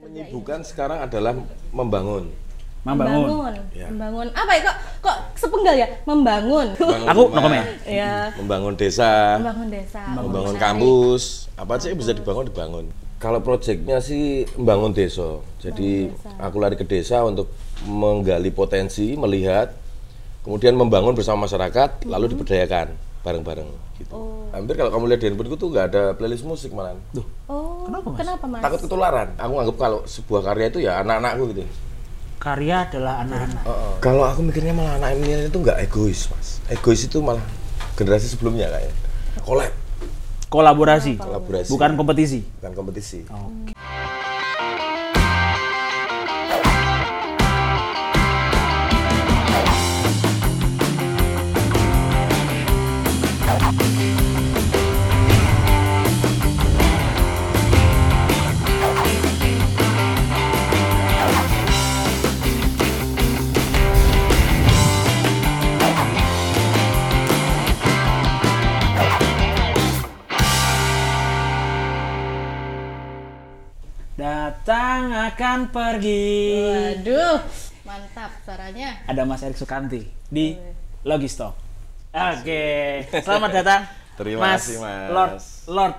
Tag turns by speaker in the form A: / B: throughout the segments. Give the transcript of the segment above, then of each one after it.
A: Menyibukkan sekarang adalah membangun.
B: Membangun.
A: Ya.
C: membangun apa ya kok kok sepenggal ya membangun
A: Membangun
B: Aku
A: rumah,
B: no comment.
C: ya
A: Membangun desa,
C: membangun desa
A: membangun kampus, apa sih yang bisa dibangun dibangun. Kalau proyeknya sih membangun desa. Jadi aku lari ke desa untuk menggali potensi, melihat, kemudian membangun bersama masyarakat, lalu diberdayakan bareng-bareng gitu. Hampir kalau kamu lihat di handphoneku tuh nggak ada playlist musik malah.
C: oh kenapa mas,
A: Takut ketularan. Aku nganggap kalau sebuah karya itu ya anak-anakku gitu.
B: Karya adalah anak-anak.
A: Kalau aku mikirnya malah anak milenial itu nggak egois, mas. Egois itu malah generasi sebelumnya kayaknya. Kolab,
B: Kolaborasi,
A: kolaborasi,
B: bukan Oh. kompetisi.
A: bukan kompetisi.
B: Datang akan pergi.
C: waduh mantap suaranya
B: Ada Mas Erik Sukanti di Logisto. Oke, selamat datang.
A: Terima kasih, Mas.
B: Lord, Lord.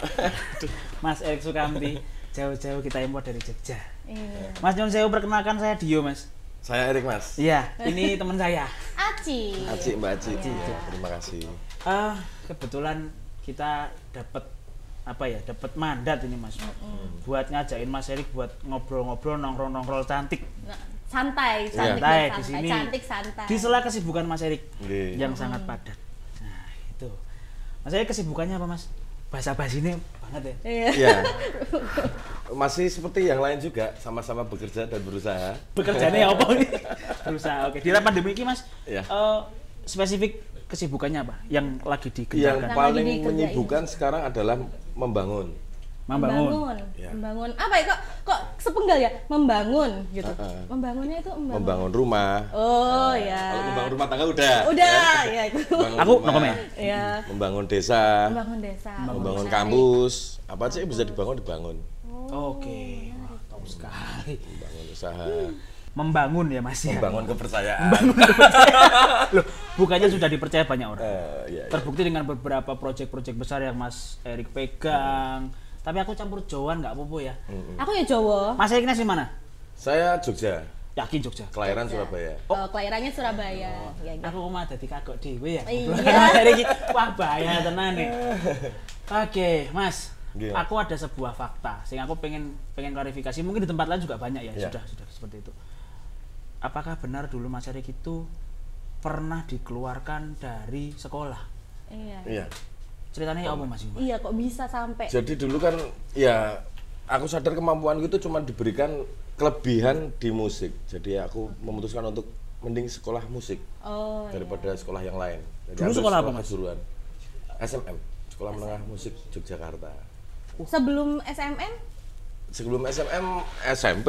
B: Mas Erik Sukanti. Jauh-jauh kita impor dari Jogja.
C: iya.
B: Mas Nyon saya perkenalkan saya Dio, Mas.
A: Saya Erik Mas.
B: Iya, ini teman saya.
C: aci
A: Aci Mbak Aci. Ya, terima kasih.
B: Ah, kebetulan kita dapat apa ya? Dapat mandat ini, Mas. Buat ngajakin Mas Erik buat ngobrol-ngobrol nongkrong-nongkrol cantik.
C: Nah, santai
A: Iya.
B: Santai
C: cantik dan
B: di
C: santai
B: sini.
C: cantik santai Mm.
B: Di sela kesibukan Mas Erik
A: Nggih.
B: yang sangat padat. Nah, itu. Mas Erik kesibukannya apa, Mas? Bahasa bahasinya banget ya.
C: Iya.
A: Iya. Masih seperti yang lain juga, sama-sama bekerja dan berusaha.
B: Pekerjaannya apa ini? Berusaha. Oke, di era pandemi ini, Mas.
A: Iya.
B: eh, spesifik kesibukannya apa? Yang lagi
A: Iya. Yang
B: dikerjakan?
C: Yang lagi
A: paling
C: dikerjain.
A: menyibukkan sekarang adalah membangun.
B: Membangun.
A: Iya.
C: membangun apa ya kok kok sepenggal ya membangun gitu
A: Uh-uh.
C: membangunnya itu membangun
A: Membangun rumah.
C: oh ya
A: Kalau membangun rumah tangga udah.
C: udah
A: Ya.
C: ya itu
A: Membangun
B: Aku no
A: rumah,
B: comment.
C: ya
A: Membangun desa.
C: membangun desa
A: membangun kampus apa sih yang bisa dibangun dibangun
C: Oh.
B: Oke. Mantap sekali.
A: bangun usaha
B: Membangun ya, Mas ya.
A: bangun kepercayaan
B: Loh, bukannya sudah dipercaya banyak orang.
A: Eh, iya, iya.
B: Terbukti dengan beberapa proyek-proyek besar yang Mas Erik pegang. Tapi aku campur Jawaan nggak apa-apa ya.
A: Hmm.
C: aku ya Jawa
B: Mas Erik nasi mana?
A: saya Jogja
B: Yakin Jogja.
A: kelahiran Surabaya
C: oh. kelahirannya Surabaya
A: Oh.
C: ya, gitu.
A: Ah.
B: Aku mah dadi kagok dhewe ya.
C: Iya.
B: Obrolan Mas Erik iki wah bahaya tenan nih. Oke, Mas.
A: Iya.
B: Aku ada sebuah fakta sehingga aku pengen pengen klarifikasi. Mungkin di tempat lain juga banyak ya.
A: Iya.
B: Sudah sudah seperti itu. Apakah benar dulu Mas Erik itu pernah dikeluarkan dari sekolah?
C: iya
A: iya
B: Ceritanya ya apa Mas? Ibu?
C: iya kok bisa sampai
A: jadi dulu kan ya aku sadar kemampuanku itu cuma diberikan kelebihan di musik jadi aku memutuskan untuk mending sekolah musik
C: oh
A: daripada sekolah yang lain jadi
B: Dulu
A: ambil
B: sekolah apa, Mas?
A: kejuruan SMM sekolah menengah musik Yogyakarta Uh.
C: sebelum SMM
A: sebelum SMM SMP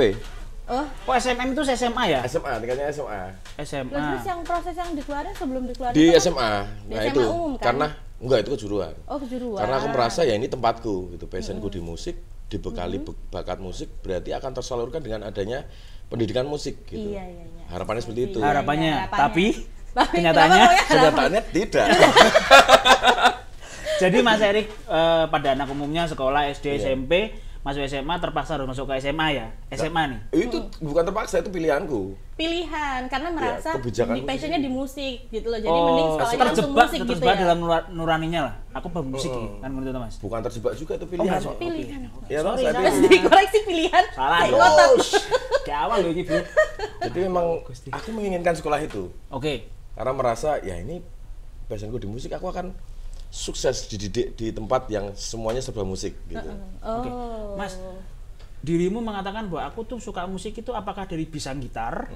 C: oh
B: Oh SMM itu SMA ya?
A: SMA tingkatnya SMA
B: SMA.
C: terus yang proses yang dikeluarin sebelum dikeluarin
A: di
C: itu kan-
A: SMA
C: Di
A: nah
C: SMA
A: itu
C: umum, kan?
A: karena enggak itu kejuruan
C: oh kejuruan
A: karena aku merasa ya ini tempatku gitu passionku di musik dibekali be- bakat musik berarti akan tersalurkan dengan adanya pendidikan musik gitu
C: Iya, iya, iya.
A: harapannya seperti itu
C: Harap-
B: harapannya.
C: Harapannya.
B: Tapi
C: Tapi
B: kenyataannya
C: kenapa kok ya?
A: gitu. kenyataannya tidak
B: jadi Mas Erik eh, pada anak umumnya sekolah SD SMP masuk SMA terpaksa harus masuk ke SMA ya. SMA nih.
A: itu bukan terpaksa itu pilihanku
C: pilihan karena
A: Ya,
C: merasa
A: kebijakan
C: di
A: musik.
C: passionnya di musik gitu loh jadi mending sekolahnya
B: Oh,
C: langsung
B: terjebak,
C: musik gitu
B: terjebak
C: ya
B: dalam nura- nuraninya lah. Aku bang musik ya, kan menurut itu, Mas.
A: bukan terjebak juga itu pilihan
B: nggak, Pak.
C: pilihan
A: ya toh,
B: Sorry,
A: saat
B: saya-
C: terus
A: itu.
C: dikoreksi pilihan
B: Salah.
C: Kayak
B: ya.
C: ngotot.
A: Oh,
B: Di awal loh ini, Bu.
A: jadi memang
C: Oh,
A: aku menginginkan sekolah itu
B: Oke.
A: karena merasa ya ini passionku di musik aku akan sukses dididik di tempat yang semuanya serba musik gitu
C: oh
B: Mas, dirimu mengatakan bahwa aku tuh suka musik itu apakah dari bisa gitar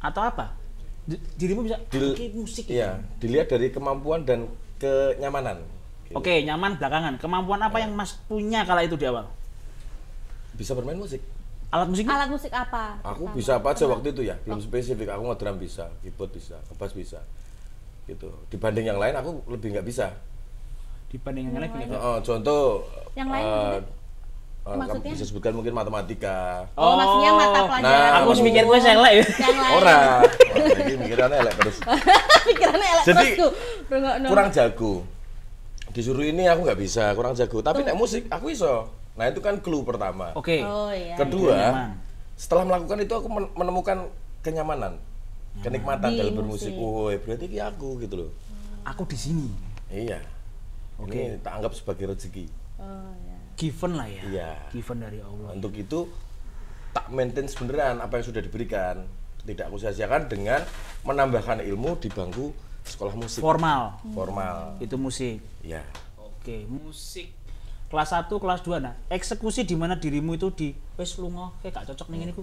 B: atau apa? Di- Dirimu bisa
A: Dil-
B: oke, musik. ya.
A: Iya, dilihat dari kemampuan dan kenyamanan. Gitu.
B: Oke, nyaman belakangan. Kemampuan apa yang Mas punya kala itu di awal?
A: Bisa bermain musik.
B: Alat musiknya?
C: alat musik apa
A: Aku bisa apa aja waktu itu ya, belum spesifik. Aku ngedrum bisa, keyboard bisa, ngebass bisa. Gitu. Dibanding yang lain aku lebih nggak bisa.
B: Dibanding yang lain punya.
A: Heeh, contoh
C: Yang lain
A: eh, eh, kamu
C: Maksudnya?
A: bisa sebutkan mungkin matematika.
C: Oh, maksudnya mata pelajaran.
A: Nah,
B: Aku harus
A: kamu-
B: mikir gue selek ya.
C: yang lain.
A: Ora. Wah, Iki mikirannya elek terus.
C: Pikirannya elek
A: Jadi,
C: terus tuh. Rungokno.
A: Kurang jago. Disuruh ini aku nggak bisa, kurang jago. Tapi nek musik aku iso. Nah, itu kan clue pertama.
B: Oke.
C: Oh iya.
A: Kedua,
B: Nyaman.
A: setelah melakukan itu aku men- menemukan kenyamanan, kenikmatan
C: Di
A: dalam bermusik.
C: musik.
A: Oh, berarti ini aku gitu loh.
B: Aku di sini.
A: Iya. Ini tak anggap sebagai rezeki.
C: Oh iya.
B: Given lah ya.
A: Iya.
B: Given dari Allah.
A: Untuk itu tak maintain beneran apa yang sudah diberikan. Tidak aku sia-siakan dengan menambahkan ilmu di bangku sekolah musik
B: Formal.
A: formal.
B: Itu musik.
A: Ya.
B: Oke, musik. Kelas 1, kelas 2. Nah, eksekusi di mana dirimu itu di wes lunga kayak gak cocok ning ngene iku.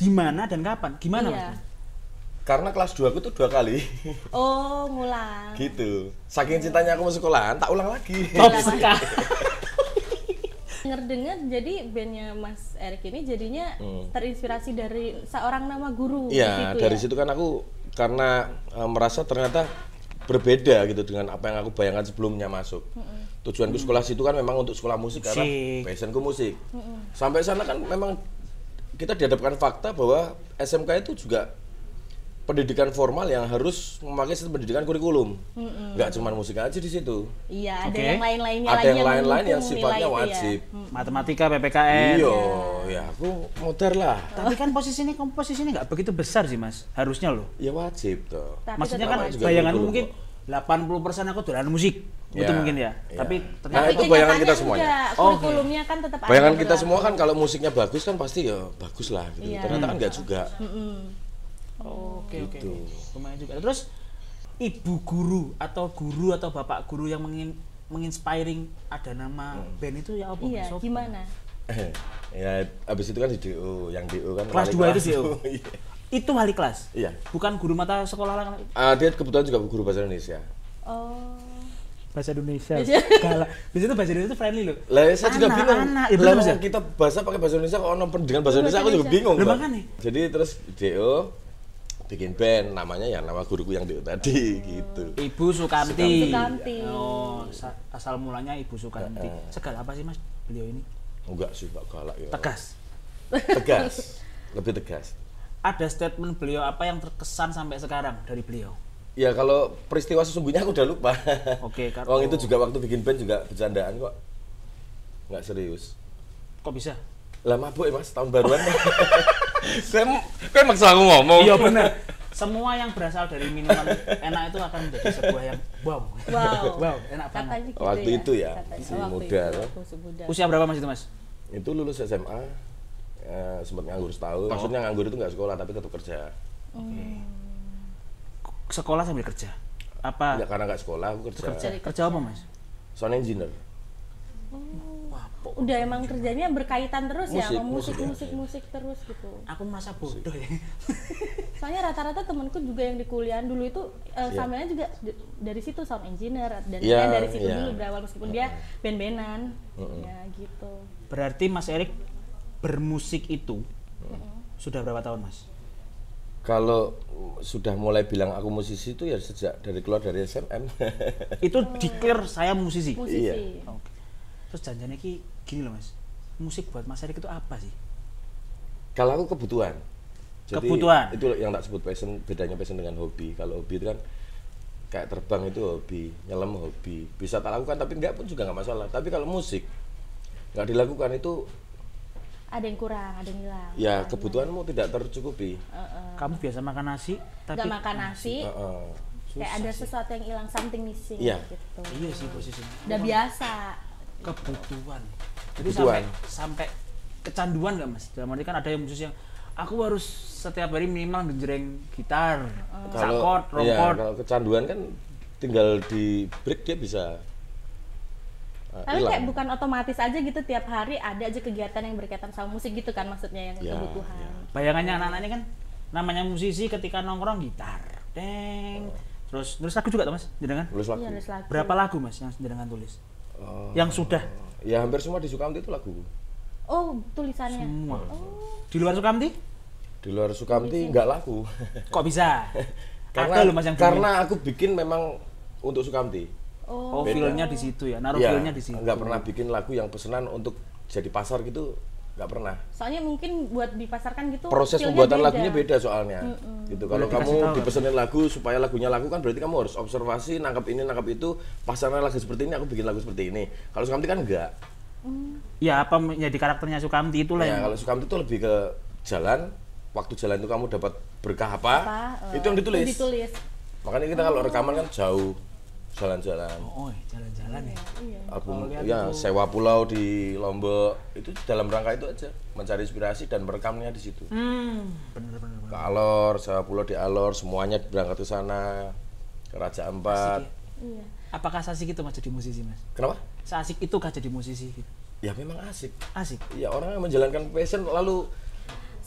B: Di mana dan kapan? Gimana,
C: Iya.
B: Mas?
A: Karena kelas 2 aku tuh dua kali.
C: Oh, ngulang.
A: gitu. Saking cintanya aku mau sekolahan, tak ulang lagi.
B: Top sekali.
C: Dengar-dengar jadi bandnya Mas Erik ini jadinya terinspirasi dari seorang nama guru.
A: Hmm. Iya,
C: gitu
A: dari
C: ya?
A: situ kan aku karena eh, merasa ternyata berbeda gitu dengan apa yang aku bayangkan sebelumnya masuk. Tujuanku sekolah situ kan memang untuk sekolah musik karena
B: Musik.
A: passionku musik. Sampai sana kan memang kita dihadapkan fakta bahwa SMK itu juga pendidikan formal yang harus memakai sistem pendidikan kurikulum. Nggak cuma musik aja di situ.
C: Iya, ada
B: Oke.
C: yang lain-lainnya
A: Ada
C: lagi
A: yang lain-lain yang
C: mendukung
A: sifatnya
C: nilai itu ya.
A: wajib.
B: Matematika PPKN.
A: Iya, ya aku modar lah.
B: Tapi kan posisinya komposisinya nggak begitu besar sih, Mas. Harusnya loh.
A: Ya wajib toh.
C: Tapi
B: Maksudnya
C: tetap
B: kan
A: wajib.
B: bayangan
A: Juga
B: mungkin 80% aku dolan musik. Itu
A: Ya,
B: mungkin ya.
A: ya.
B: Tapi
A: Nah,
B: ternyata
C: Tapi
A: itu bayangan
C: kenyataannya
A: kita semuanya.
C: enggak,
B: Oh, Oke.
C: kurikulumnya kan tetap ada
A: Bayangan kita
C: berlaku.
A: semua kan kalau musiknya bagus kan pasti ya bagus lah gitu.
C: Iya.
A: Ternyata kan nggak juga.
B: Oh, oke oke. Lumayan juga. Gitu. Terus ibu guru atau guru atau bapak guru yang mengin menginspiring ada nama band itu ya apa?
C: Iya,
B: Sob?
C: gimana?
A: ya abis itu kan di DO, yang DO kan wali
B: Kelas dua itu
A: kelas.
B: DO?
A: Iya.
B: Itu wali kelas.
A: Iya.
B: Bukan guru mata sekolah lah kan?
A: Ah, dia kebetulan juga guru bahasa Indonesia.
C: Oh.
B: bahasa Indonesia.
C: Iya.
B: Galak. Biasanya itu bahasa Indonesia itu friendly loh.
A: Lah saya juga
B: Anak,
A: bingung.
B: anak. Ya,
A: Lah
B: betul, Mas, ya? Iya,
A: mau kita bahasa pakai bahasa Indonesia kok ono pendidikan bahasa Indonesia aku juga bingung.
B: Lah,
A: Mbak.
B: makanya.
A: Jadi terus DO bikin band namanya ya nama guruku yang DO
B: Oh.
A: tadi gitu.
B: Ibu Sukamti.
C: Sukamti.
B: Oh, sa- asal mulanya Ibu Sukamti. Segala apa sih Mas beliau ini?
A: Enggak sih Pak galak ya.
B: Tegas.
A: Tegas. Lebih tegas.
B: Ada statement beliau apa yang terkesan sampai sekarang dari beliau?
A: Ya kalau peristiwa sesungguhnya aku udah lupa.
B: Oke, kar-
A: Wong itu
B: oh.
A: juga waktu bikin band juga bercandaan kok. Nggak serius.
B: Kok bisa?
A: Lah mabuk ya mas, tahun baruan. Saya kan maksa aku ngomong.
B: Iya benar. Semua yang berasal dari minuman enak itu akan menjadi sebuah yang wow.
C: Wow.
B: wow, enak banget.
C: Katanya gitu
A: Waktu
C: ya.
A: itu ya,
C: Katanya.
A: masih
C: Waktu
A: muda,
C: itu,
A: loh.
C: masih muda.
B: Usia berapa Mas itu Mas?
A: Itu lulus SMA, eh, sempat nganggur
B: Oh.
A: setahun. Maksudnya nganggur itu nggak sekolah tapi tetap kerja.
B: Sekolah sambil kerja.
A: Ya,
B: Apa?
A: karena nggak sekolah aku kerja.
B: Ah. Kerja, kerja apa Mas?
A: Sound engineer.
C: udah emang kerjanya berkaitan terus ya
A: Musik,
C: sama musik
A: musik ya.
C: musik musik terus gitu.
B: Aku merasa bodoh ya.
C: Soalnya rata-rata temenku juga yang di kuliahan dulu itu eh, sambilnya juga d- dari situ sound engineer dan
A: Iya,
C: saya dari situ
A: iya.
C: dulu berawal meskipun dia band-bandan. Ya gitu.
B: Berarti Mas Erik bermusik itu sudah berapa tahun Mas?
A: Kalau mm, sudah mulai bilang aku musisi itu ya sejak dari keluar dari SMM.
B: Itu declare saya musisi.
C: Musisi.
A: Iya.
B: Oke. Terus janjinya ki gini loh Mas. Musik buat Mas Erik itu apa sih?
A: kalau aku kebutuhan.
B: Kebutuhan.
A: Itu yang tak sebut passion, bedanya passion dengan hobi. Kalau hobi itu kan kayak terbang itu hobi, nyelam hobi. Bisa tak lakukan tapi enggak pun juga nggak masalah. Tapi kalau musik nggak dilakukan itu
C: Ada yang kurang, ada yang hilang.
A: ya kebutuhanmu tidak tercukupi.
B: Ah. Kamu biasa makan nasi tapi
C: Nggak makan nasi,
A: Heeh.
C: kayak ada sesuatu yang hilang, something missing
A: Iya.
C: gitu.
B: Iya sih posisinya.
C: Udah biasa.
B: kebutuhan. Jadi
A: Kebutuhan.
B: sampai sampai kecanduan nggak mas? Dalam arti kan ada yang khusus yang aku harus setiap hari minimal ngejreng gitar, sakot,
A: iya,
B: rongkot.
A: kalau kecanduan kan tinggal di break dia bisa eh,
C: Tapi
A: hilang.
C: kayak bukan otomatis aja gitu tiap hari ada aja kegiatan yang berkaitan sama musik gitu kan maksudnya yang
A: Ya,
C: kebutuhan.
A: ya.
B: Bayangannya anak-anak ini kan namanya musisi ketika nongkrong gitar, deng. Terus terus aku juga tuh mas, jenengan.
A: Nulis lagu.
C: Iya, nulis lagu.
B: Berapa lagu mas yang jenengan tulis?
A: Oh.
B: Yang sudah
A: Ya hampir semua di Sukamti itu lagu.
C: Oh, tulisannya.
B: semua. Di luar Sukamti?
A: Di luar
C: Iya
A: Sukamti nggak laku.
B: Kok bisa?
A: karena
B: ada loh mas yang punya.
A: karena aku bikin memang untuk Sukamti.
C: Oh,
B: oh
A: Beda.
B: filenya di situ ya, naruh
A: Iya,
B: filenya di situ.
A: Nggak pernah bikin lagu yang pesanan untuk jadi pasar gitu nggak pernah.
C: Soalnya mungkin buat dipasarkan gitu
A: Proses
C: feel-nya
A: pembuatan
C: beda.
A: lagunya beda soalnya. Gitu. Kalau
B: Boleh dikasih tahu
A: kamu
B: nggak?
A: dipesenin lagu supaya lagunya laku kan berarti kamu harus observasi, nangkap ini, nangkap itu, pasarnya lagu seperti ini aku bikin lagu seperti ini. Kalau Sukamti kan enggak.
B: Ya apa menjadi karakternya Sukamti
A: Ya,
B: itulah
C: Iya.
B: yang
A: kalau Sukamti itu lebih ke jalan, waktu jalan itu kamu dapat berkah apa,
C: Apa, eh,
A: itu yang ditulis.
C: Ditulis.
A: Makanya kita kalau rekaman kan jauh jalan-jalan.
B: Oh, eh, jalan-jalan ya.
A: album ya sewa pulau di Lombok itu dalam rangka itu aja mencari inspirasi dan merekamnya di situ
B: Hmm, bener bener. bener.
A: ke Alor sewa pulau di Alor semuanya berangkat ke sana ke Raja Empat
C: Iya.
B: Apakah seasik itu mas jadi musisi mas?
A: kenapa
B: Seasik itu kah jadi musisi? gitu.
A: ya memang asik
B: Asik.
A: ya orang yang menjalankan passion lalu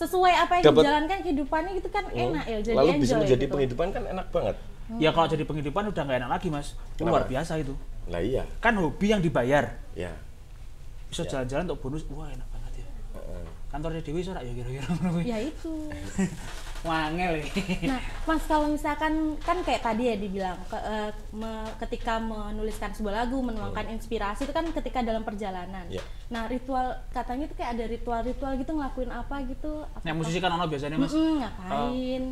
C: Sesuai apa yang
A: Dapat- Oh,
C: dijalankan kehidupannya gitu kan enak ya jadi
A: lalu
C: enjoy
A: bisa menjadi
C: gitu.
A: penghidupan kan enak banget
B: Ya kalau jadi penghidupan udah nggak enak lagi mas. Luar
A: Kenapa?
B: biasa itu.
A: nah iya
B: Kan hobi yang dibayar.
A: ya
B: Bisa jalan-jalan untuk bonus. Wah enak banget ya. Kantornya Dewi sorak ya kira-kira.
C: Ya itu.
B: Wangel ya.
C: Nah, Mas kalau misalkan kan kayak tadi ya dibilang ke- eh, me- ketika menuliskan sebuah lagu, menuangkan
A: Oh.
C: inspirasi itu kan ketika dalam perjalanan.
A: Iya.
C: Nah, ritual katanya itu kayak ada ritual-ritual gitu ngelakuin apa gitu. Apa
B: Nek musisi kan ono biasanya mas. Ah.
C: Mm-mm, ngapain?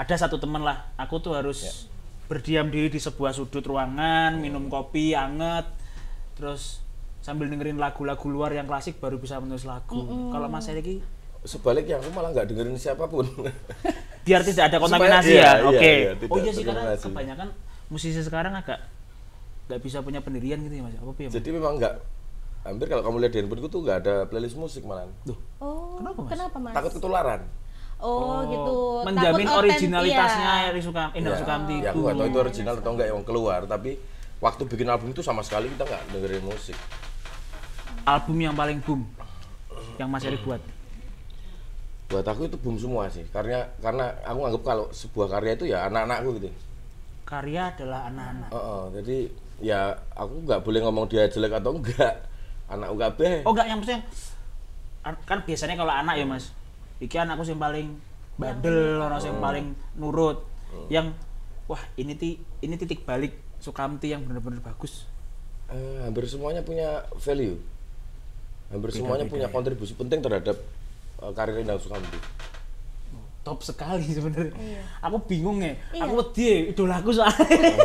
B: Ada satu temen lah. Aku tuh
A: Ya.
B: harus berdiam diri di sebuah sudut
A: Oh.
B: ruangan, minum kopi anget, terus sambil dengerin lagu-lagu luar yang klasik baru bisa menulis lagu. Kalau Mas Eriki
A: sebaliknya aku malah nggak dengerin siapapun
B: biar tidak
A: Supaya-
B: ada kontaminasi
A: iya,
B: ya.
A: iya,
B: Oke.
A: iya, tidak
B: oh iya sih karena
A: terkontaminasi.
B: kebanyakan musisi sekarang agak nggak bisa punya pendirian gitu ya Mas. Apa ya? Mas?
A: jadi memang nggak hampir kalau kamu lihat di handphone tuh nggak ada playlist musik malah
B: Duh,
C: Oh,
B: Kenapa, Mas?
A: takut ketularan
C: Oh, gitu.
B: menjamin
C: Takut otentik,
B: originalitasnya
C: iya.
B: Eri Sukam, Endang
A: Ya,
B: Sukamti
A: ya,
B: itu.
A: aku nggak tahu itu original atau enggak yang keluar tapi waktu bikin album itu sama sekali kita nggak dengerin musik
B: Album yang paling boom yang Mas Eri buat.
A: buat aku itu boom semua sih karena karena aku anggap kalau sebuah karya itu ya anak-anakku gitu
B: Karya adalah anak-anak.
A: Heeh, jadi ya aku nggak boleh ngomong dia jelek atau enggak anak UKB
B: Oh enggak yang maksudnya an- kan biasanya kalau anak ya mas, iki anakku yang paling bandel, orang yang paling nurut, yang wah ini ti ini titik balik Sukamti yang benar-benar bagus.
A: Eh, hampir semuanya punya value hampir semuanya punya kontribusi penting terhadap eh, karir Indang Sukamti
B: Top sekali sebenarnya. Aku bingung ya.
C: Iya.
B: Aku wedi idolaku soalnya.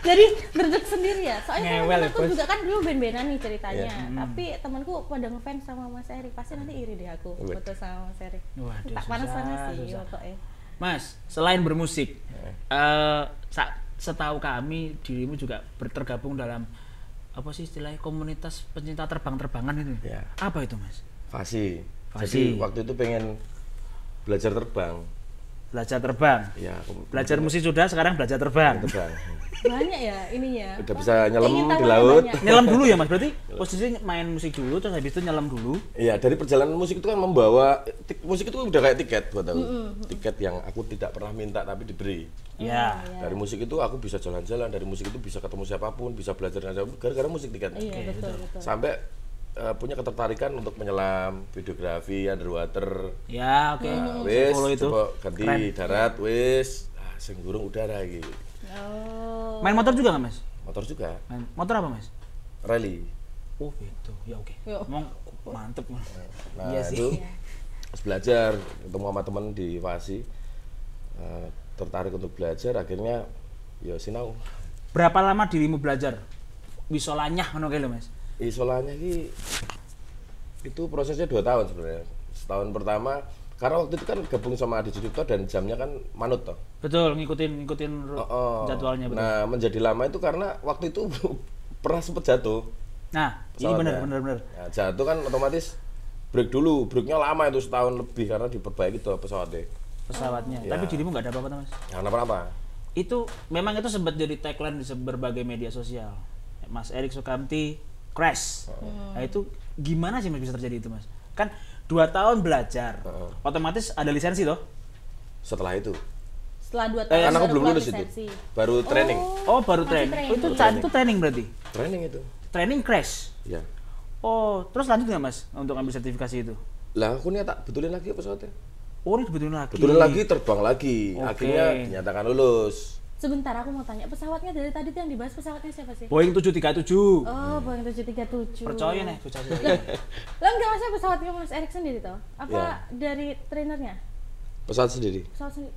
C: Jadi berdek sendiri ya. Soalnya
B: Ngewel ya,
C: teman aku
B: Bos.
C: juga kan dulu band-bandan nih ceritanya.
A: Iya.
C: Tapi temanku pada ngefans sama Mas Eri. Pasti nanti iri deh aku
A: Waduh.
C: foto sama Mas Eri.
B: Waduh,
C: tak panas sana
B: susah,
C: sih
B: susah.
C: pokoknya.
B: mas, selain bermusik, eh sa- setahu kami dirimu juga ber- tergabung dalam apa sih istilahnya komunitas pencinta terbang-terbangan itu.
A: Iya.
B: ya? Apa itu mas?
A: Fasi. Jadi
B: Fasi.
A: waktu itu pengen belajar terbang
B: Belajar terbang.
A: ya aku
B: Belajar musik sudah, sekarang belajar terbang.
A: terbang
C: banyak ya ininya
A: Udah
C: Wah,
A: bisa nyelam
C: ingin
A: di
C: tahunya
A: laut.
C: banyak.
B: nyelam dulu ya mas, berarti posisinya main musik dulu, terus habis itu nyelam dulu.
A: Iya, dari perjalanan musik itu kan membawa ti- musik itu udah kayak tiket buat aku. Tiket yang aku tidak pernah minta tapi diberi.
B: Ya.
C: Iya.
A: Dari musik itu aku bisa jalan-jalan, dari musik itu bisa ketemu siapapun, bisa belajar dengan siapapun gara-gara musik tiket.
C: iya betul betul
A: Sampai eh, punya ketertarikan untuk menyelam, videografi, underwater.
B: Ya, oke.
A: Nah, wis,
B: Follow itu.
A: coba ganti darat, wis. Ah, sing gurung udara gitu.
C: oh
B: Main motor juga nggak mas?
A: Motor juga,
B: Main motor apa mas?
A: rally.
B: Oh itu, ya oke.
C: Yuk.
B: Emang mantep mas.
A: Nah,
B: Iya sih.
A: itu harus belajar, ketemu sama teman di Fasi. Eh, tertarik untuk belajar akhirnya ya sinau.
B: Berapa lama dirimu belajar? Wisolanya, ngono kayak lho, mas.
A: Isolanya ini itu prosesnya dua tahun sebenarnya. Setahun pertama karena waktu itu kan gabung sama Adi Sucipto dan jamnya kan manut toh.
B: Betul, ngikutin ngikutin ru-
A: Oh, oh.
B: jadwalnya betul. Nah,
A: Nah menjadi lama itu karena waktu itu pernah sempat jatuh.
B: Nah, ini benar
A: pesawatnya.
B: benar benar.
A: Nah, jatuh kan otomatis break dulu, breaknya lama itu setahun lebih karena diperbaiki tuh pesawatnya.
B: Pesawatnya.
A: Ya.
B: Tapi dirimu nggak ada apa-apa mas.
A: Nah, kenapa-napa?
B: itu memang itu sempat jadi tagline di se- berbagai media sosial Mas Erik Sukamti crash
C: Hmm.
B: nah itu gimana sih mas bisa terjadi itu mas kan dua tahun belajar otomatis ada lisensi toh
A: Setelah itu,
C: setelah dua tahun
A: Eh, karena aku
C: baru
A: belum
C: keluar
A: lulus itu.
C: lisensi.
A: Baru training.
B: oh baru
C: Masih
B: training,
C: training.
B: Oh, itu saat itu training berarti
A: Training itu.
B: training crash
A: Ya.
B: oh terus lanjut nggak mas untuk ambil sertifikasi itu
A: Lah aku niat tak betulin lagi pesawatnya.
B: oh ini dibetulin lagi
A: Betulin lagi terbang lagi.
B: Oke.
A: Akhirnya dinyatakan lulus.
C: Sebentar aku mau tanya, pesawatnya dari tadi tuh yang dibahas pesawatnya siapa sih?
B: Boeing 737.
C: Oh, iya. Boeing 737.
B: Percaya nih, bocah saya.
C: Lo enggak maksudnya pesawatnya Mas Erik sendiri toh? Apa dari trainernya?
A: pesawat sendiri
C: Pesawat sendiri.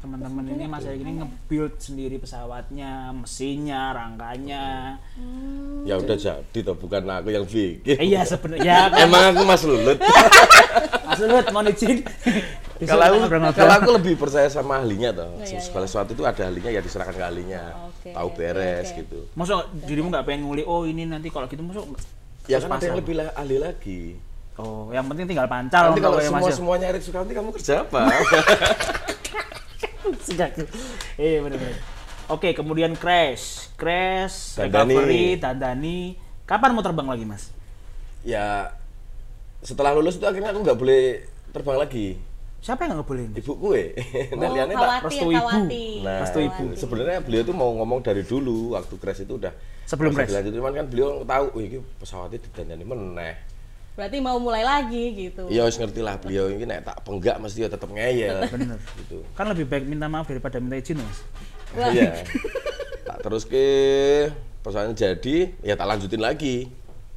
B: Teman-teman ini Mas Erik ini nge-build sendiri pesawatnya, mesinnya, rangkanya.
C: Hmm.
A: ya udah jadi toh bukan aku yang bikin
B: Eh, iya sebenarnya ya,
A: emang aku mas lulut
B: Mas Lut mau izin. Besok
A: kalau
B: kita
A: aku
B: ngobrol-ngobrol.
A: kalau aku lebih percaya sama ahlinya toh
C: Iya, iya.
A: segala sesuatu itu ada ahlinya ya diserahkan ke ahlinya
C: Oke,
A: tahu
C: oke,
A: beres
C: oke.
A: gitu
B: Masa dirimu nggak pengen nguli, oh ini nanti kalau gitu masuk
A: ya kan ada yang lebih lah- ahli lagi
B: Oh, yang penting tinggal
A: nanti
B: pancal untuk
A: kalau
B: kayak
A: semua
B: Mas. ya.
A: semuanya Erik Sukamti kamu kerja apa
B: Sejak Iya benar-benar. Oke, kemudian crash, crash,
A: Dandani.
B: recovery, dandani. Kapan mau terbang lagi, Mas?
A: ya setelah lulus itu akhirnya aku nggak boleh terbang lagi
B: Siapa yang nggak bolehin?
A: ibuku eh Nek
C: Oh,
A: liane tak
C: khawatir,
B: restu ibu.
C: khawatir.
A: Nah,
B: Restu ibu.
A: sebenarnya beliau tuh mau ngomong dari dulu waktu crash itu udah
B: Sebelum
A: harus
B: crash?
A: dilanjut. cuman kan beliau tahu, wih ini pesawatnya didandani meneh.
C: Berarti mau mulai lagi gitu.
A: Iya wis ngerti lah beliau ini nek tak penggak mesti ya tetep ngeyel.
B: Bener.
A: Gitu.
B: Kan lebih baik minta maaf daripada minta izin, Mas.
C: Wah.
A: Iya. tak terus ke pesawatnya jadi, ya tak lanjutin lagi.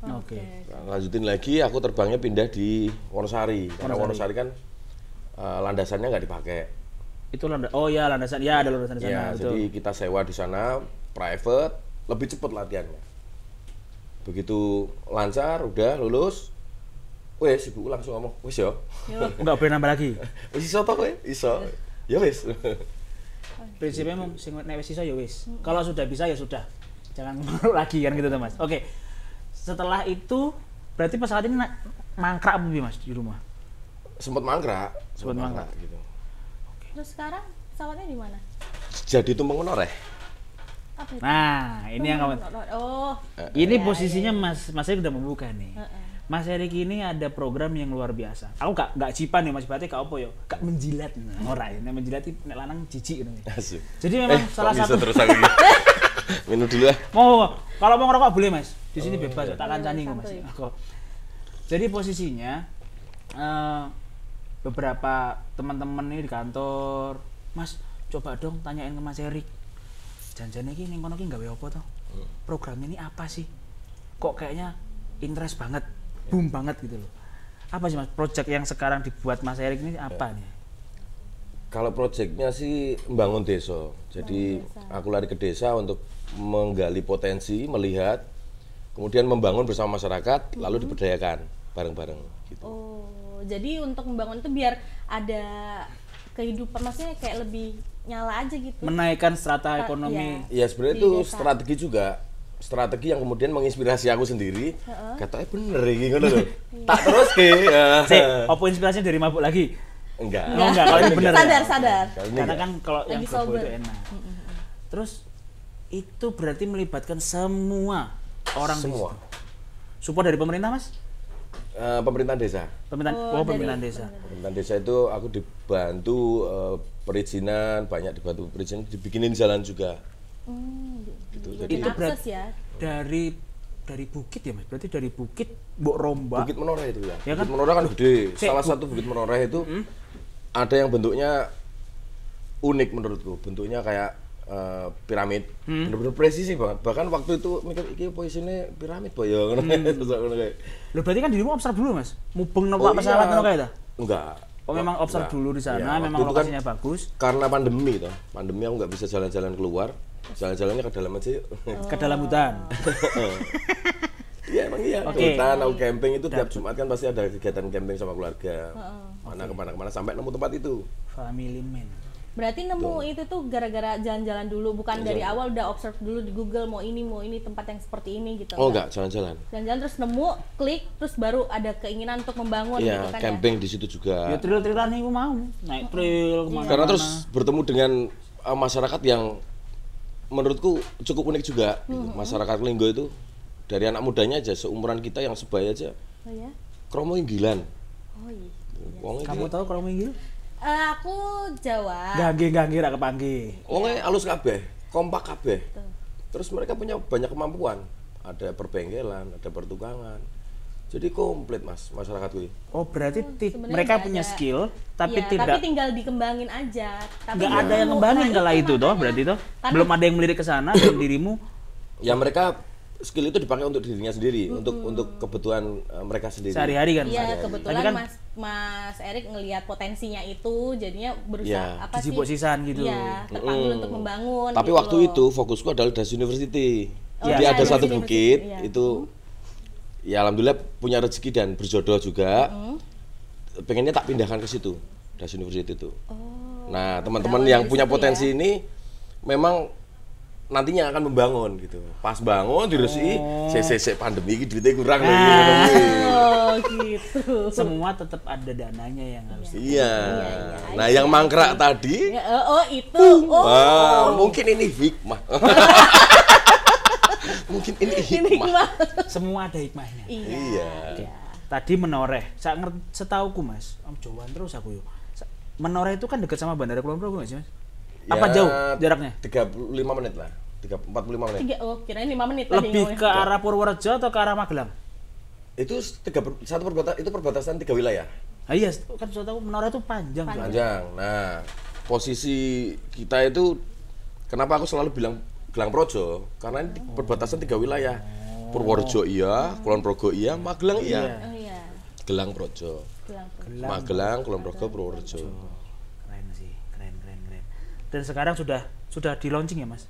B: Oke.
A: Tak Lanjutin lagi, aku terbangnya pindah di Wonosari. Karena Wonosari kan eh, landasannya nggak dipakai.
B: Itu landa Oh ya, landasan. Ya, ada landasan di sana,
A: Ya,
B: betul.
A: jadi kita sewa di sana private, lebih cepat latihannya. Begitu lancar, udah lulus, wes ibu langsung ngomong, wes yo,
B: Enggak boleh nambah lagi.
A: wes iso toh kowe? iso, ya
B: Iya.
A: wes. Iya,
B: Prinsipnya mau sing nek wis iso ya wis. Kalau sudah bisa ya sudah. Jangan mau lagi kan gitu, tuh, Mas. Oke. Setelah itu berarti pesawat ini na- mangkrak apa Mas di rumah?
A: Sempet mangkrak,
B: Sempet mangkrak.
A: gitu.
C: Terus sekarang pesawatnya di mana?
A: Jadi tumpeng menoreh.
C: Apa itu?
B: Nah, ini yang
A: Iya,
B: kamu
C: Oh,
B: Ini posisinya Mas Mas Erik udah membuka nih. Mas Erik ini ada program yang luar biasa. Aku gak gak cipan ya Mas berarti gak apa ya? Gak menjilat. Nah, ora ya. Nek menjilat itu nek lanang jijik gitu.
A: Asik. Eh,
B: Jadi memang
A: kok
B: salah
A: bisa
B: satu
A: terus aku gitu? Minum dulu ya.
B: Mau kalau mau ngerokok boleh mas. Di sini bebas, tak kancani kok mas.
C: santuy.
B: Kok. Jadi posisinya eh, beberapa teman-teman ini di kantor, mas coba dong tanyain ke mas Erik. Janjiannya ini kono ki gawe apa toh? Programnya ini apa sih? Kok kayaknya interest banget, boom banget gitu loh. Apa sih mas? Project yang sekarang dibuat mas Erik ini apa nih?
A: Kalau proyeknya sih membangun desa. Jadi aku lari ke desa untuk menggali potensi, melihat, kemudian membangun bersama masyarakat, lalu diberdayakan bareng-bareng. Gitu.
C: oh, jadi untuk membangun itu biar ada kehidupan maksudnya kayak lebih nyala aja gitu.
B: Menaikkan strata
C: Iya.
B: ekonomi.
A: Ya sebenarnya
C: Di
A: itu
C: desa.
A: strategi juga, strategi yang kemudian menginspirasi aku sendiri. Katanya bener ini ngono loh. Tak terus ke.
B: Sih, apa inspirasinya dari mabuk lagi?
A: Enggak.
B: Oh, enggak, kalau ini bener.
C: sadar, sadar.
A: Kalau ini
B: karena
A: enggak.
B: kan kalau yang
C: Lagi
B: gobo itu
C: sober.
B: enak terus itu berarti melibatkan semua orang di
A: semua
B: situ. support dari pemerintah mas
A: Eh, pemerintahan desa.
B: pemerintahan oh, pemerintahan desa
A: Pemerintahan desa itu aku dibantu eh, perizinan, banyak dibantu perizinan, dibikinin jalan juga.
C: Hmm,
A: Gitu. Jadi
C: jadi
B: Itu berat.
C: akses ya.
B: dari dari bukit ya mas berarti dari bukit mbok romba
A: Bukit Menoreh itu ya.
B: Ya kan?
A: bukit Menoreh kan gede.
B: Sik,
A: Salah
B: bu- Hmm?
A: satu Bukit Menoreh itu ada yang bentuknya unik menurutku. Bentuknya kayak eh, piramid.
B: Hmm.
A: Bener-bener presisi banget. Bahkan waktu itu mikir iki apa isine piramid po ya ngono
B: Hmm.
A: Terus aku ngono kayak.
B: lo berarti kan dirimu observe dulu mas mubeng numpak
A: iya.
B: pesawat ngono kayak itu
A: Enggak.
B: oh memang observe
A: Enggak.
B: dulu di sana
A: Iya,
B: memang
A: waktu itu kan
B: lokasinya bagus
A: karena pandemi toh. Pandemi aku nggak bisa jalan-jalan keluar. Jalan-jalannya ke dalam aja. yuk.
B: ke dalam
C: Oh.
B: hutan
A: Iya emang iya.
B: Oke.
A: Ke Hutan atau camping itu tiap Jumat kan pasti ada kegiatan camping sama keluarga. Mana kemana kemana sampai nemu tempat itu.
B: family man
C: Berarti nemu itu tuh gara-gara jalan-jalan dulu, bukan dari awal udah observe dulu di Google mau ini mau ini tempat yang seperti ini gitu.
A: Oh enggak, jalan-jalan.
C: Jalan-jalan terus nemu, klik, terus baru ada keinginan untuk membangun
A: Iya,
C: gitu kan ya.
A: camping di situ
B: ya
A: juga.
B: trail trailan nih mau naik
C: Iya.
B: trail kemana
A: Iya. Karena terus bertemu dengan eh, masyarakat yang menurutku cukup unik juga. gitu. Masyarakat Linggo itu dari anak mudanya aja seumuran kita yang sebaya aja
C: Oh ya.
A: kromo inggilan.
C: Oh iya.
A: Wong
B: kamu tahu kalau minggir
C: Eh, aku Jawa.
B: gangge gangge rak kepanggil
A: wonge alus kabeh, kompak kabeh. Terus mereka punya banyak kemampuan. Ada perbengkelan, ada pertukangan. Jadi komplit mas masyarakat ini.
B: Oh berarti ti-
C: sebenarnya
B: mereka
C: nggak
B: punya
C: ada.
B: skill tapi
C: Iya,
B: tidak
C: tapi tinggal dikembangin aja. Tapi
B: nggak
C: nggak
B: ada yang
C: mau.
B: ngembangin
C: Nah,
B: kala itu toh
C: makanya.
B: berarti toh
C: Karena-
B: belum ada yang melirik ke sana dan dirimu
A: Ya mereka skill itu dipakai untuk dirinya sendiri, untuk untuk kebutuhan eh, mereka sendiri.
B: sehari-hari kan
C: Iya,
B: Mas?
C: kebetulan
B: Tapi kan-
C: Mas Mas Erik ngelihat potensinya itu, jadinya berusaha
A: Iya,
C: apa sih?
B: disibuat-sisan gitu.
C: Iya, terpanggil
A: Mm.
C: untuk membangun.
A: Tapi
C: gitu
A: waktu
C: loh.
A: itu fokusku adalah Das University.
C: Oh,
A: Jadi
C: iya,
A: ada
C: Das
A: satu
C: University,
A: bukit
C: iya. Hmm.
A: itu ya alhamdulillah punya rezeki dan berjodoh juga. Pengennya tak pindahkan ke situ Das University itu.
C: Oh,
A: nah teman-teman
C: berawal
A: yang
C: dari
A: punya
C: situ
A: potensi ini memang nantinya akan membangun gitu. Pas bangun diresi, cc pandemi ini duitnya kurang lho,
C: Nah.
B: Ah.
A: gitu.
C: Oh, gitu.
B: semua tetap ada dananya yang harus
A: Iya. Nah yang mangkrak tadi,
C: Ya, eh, oh, itu. Oh,
A: wah mungkin ini hikmah. mungkin ini
C: ini
A: hikmah.
C: mah.
B: semua ada hikmahnya
C: Iya.
A: Iya.
B: Oke. Tadi menoreh, saya ngerti setauku Mas, om jauhan terus aku yuk. Sa- Menoreh itu kan dekat sama Bandara Kulon Progo nggak sih Mas? Apa
A: Ya,
B: jauh jaraknya?
A: 35 menit lah. 3 45 menit.
C: Tiga, oh, kirain lima menit tadi
B: Lebih
C: ngomongnya.
B: ke arah Purworejo atau ke arah Magelang?
A: Itu s- tiga per- satu perbatasan itu perbatasan tiga wilayah.
B: Ah, iya, set- kan setahu menoreh itu panjang. Bro.
A: Panjang. Nah, posisi kita itu kenapa aku selalu bilang Gelang Projo? Karena ini di perbatasan tiga wilayah. Purworejo iya, Kulon Progo iya, Magelang iya.
C: Oh iya.
A: Gelang Projo.
C: Bilang tuh.
A: Magelang, Kulon Progo, Purworejo.
B: Oh, Keren sih, keren keren keren. Dan sekarang sudah sudah di launching ya Mas?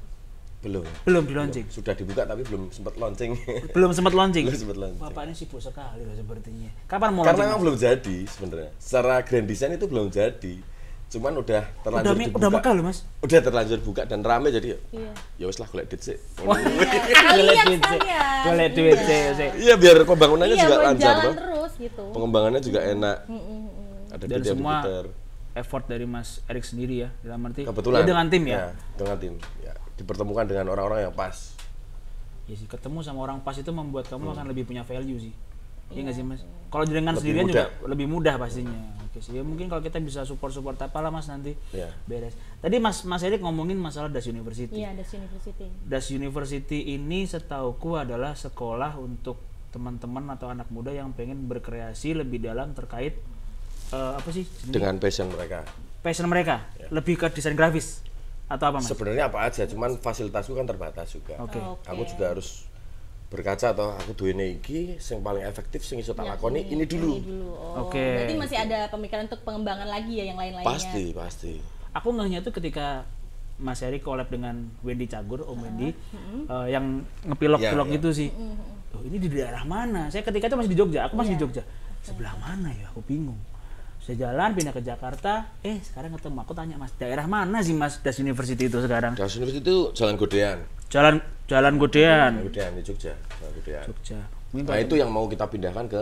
A: Belum.
B: Belum di launching.
A: Sudah dibuka tapi belum sempat launching.
B: Belum sempat launching.
A: belum sempat launching.
B: Bapak ini sibuk sekali loh sepertinya. Kapan mau
A: Karena
B: launching?
A: memang
B: Mas?
A: belum jadi sebenarnya. Secara grand design itu belum jadi. Cuman udah terlanjur
B: Udah mi-
A: dibuka.
B: udah mekah loh Mas.
A: Udah terlanjur buka dan rame jadi
C: Iya.
A: ya wis lah golek duit sih.
B: Golek duit sih.
C: sekalian.
B: Golek duit sih. sih.
A: Iya biar pembangunannya
C: Iya,
A: juga
C: mau
A: lancar
C: jalan
A: toh.
C: terus gitu.
A: Pengembangannya juga enak.
B: Mm,
A: Ada
B: Dan
A: duit yang
B: semua ya,
A: diputer.
B: effort dari Mas Erik sendiri ya dalam arti
A: Kebetulan.
B: ya dengan tim ya.
A: Nah, dengan tim. Ya, dipertemukan dengan orang-orang yang pas.
B: Ya sih, ketemu sama orang pas itu membuat kamu
A: Hmm.
B: akan lebih punya value sih. Iya nggak sih mas? Kalau dengan sendirian juga lebih mudah pastinya. Oke sih, ya mungkin kalau kita bisa support-support apalah mas nanti
A: Iya.
B: beres. Tadi mas Mas Erik ngomongin masalah das university.
C: Iya, ada university.
B: Das university ini setauku adalah sekolah untuk teman-teman atau anak muda yang pengen berkreasi lebih dalam terkait eh, apa sih jenis-
A: Dengan passion mereka.
B: passion mereka
A: Ya.
B: lebih ke desain grafis atau apa mas?
A: Sebenarnya apa aja, cuman fasilitasku kan terbatas juga.
B: Oke.
C: Oh, Oke.
A: aku juga harus berkaca toh aku duene iki sing paling efektif sing iso tak lakoni Iya, ini dulu
C: Dulu. Oh,
B: Oke.
C: Berarti masih ada pemikiran untuk pengembangan lagi ya yang lain-lainnya.
A: pasti pasti
B: aku ngehnya tuh ketika Mas Eri collab dengan Wendy Cagur, Om Wendy, eh, yang ngepilok-pilok
A: Ya, ya.
B: gitu sih. Oh, ini di daerah mana? Saya ketika itu masih di Jogja, aku masih di Jogja. Sebelah mana ya? Aku bingung. Saya jalan pindah ke Jakarta, eh sekarang ketemu aku tanya Mas, daerah mana sih Mas Das University itu sekarang?
A: Das University itu Jalan Godean
B: Jalan Jalan Godean,
A: Godean di Jogja Jalan Godean
B: Jogja. Mungkin
A: nah itu yang mau kita pindahkan ke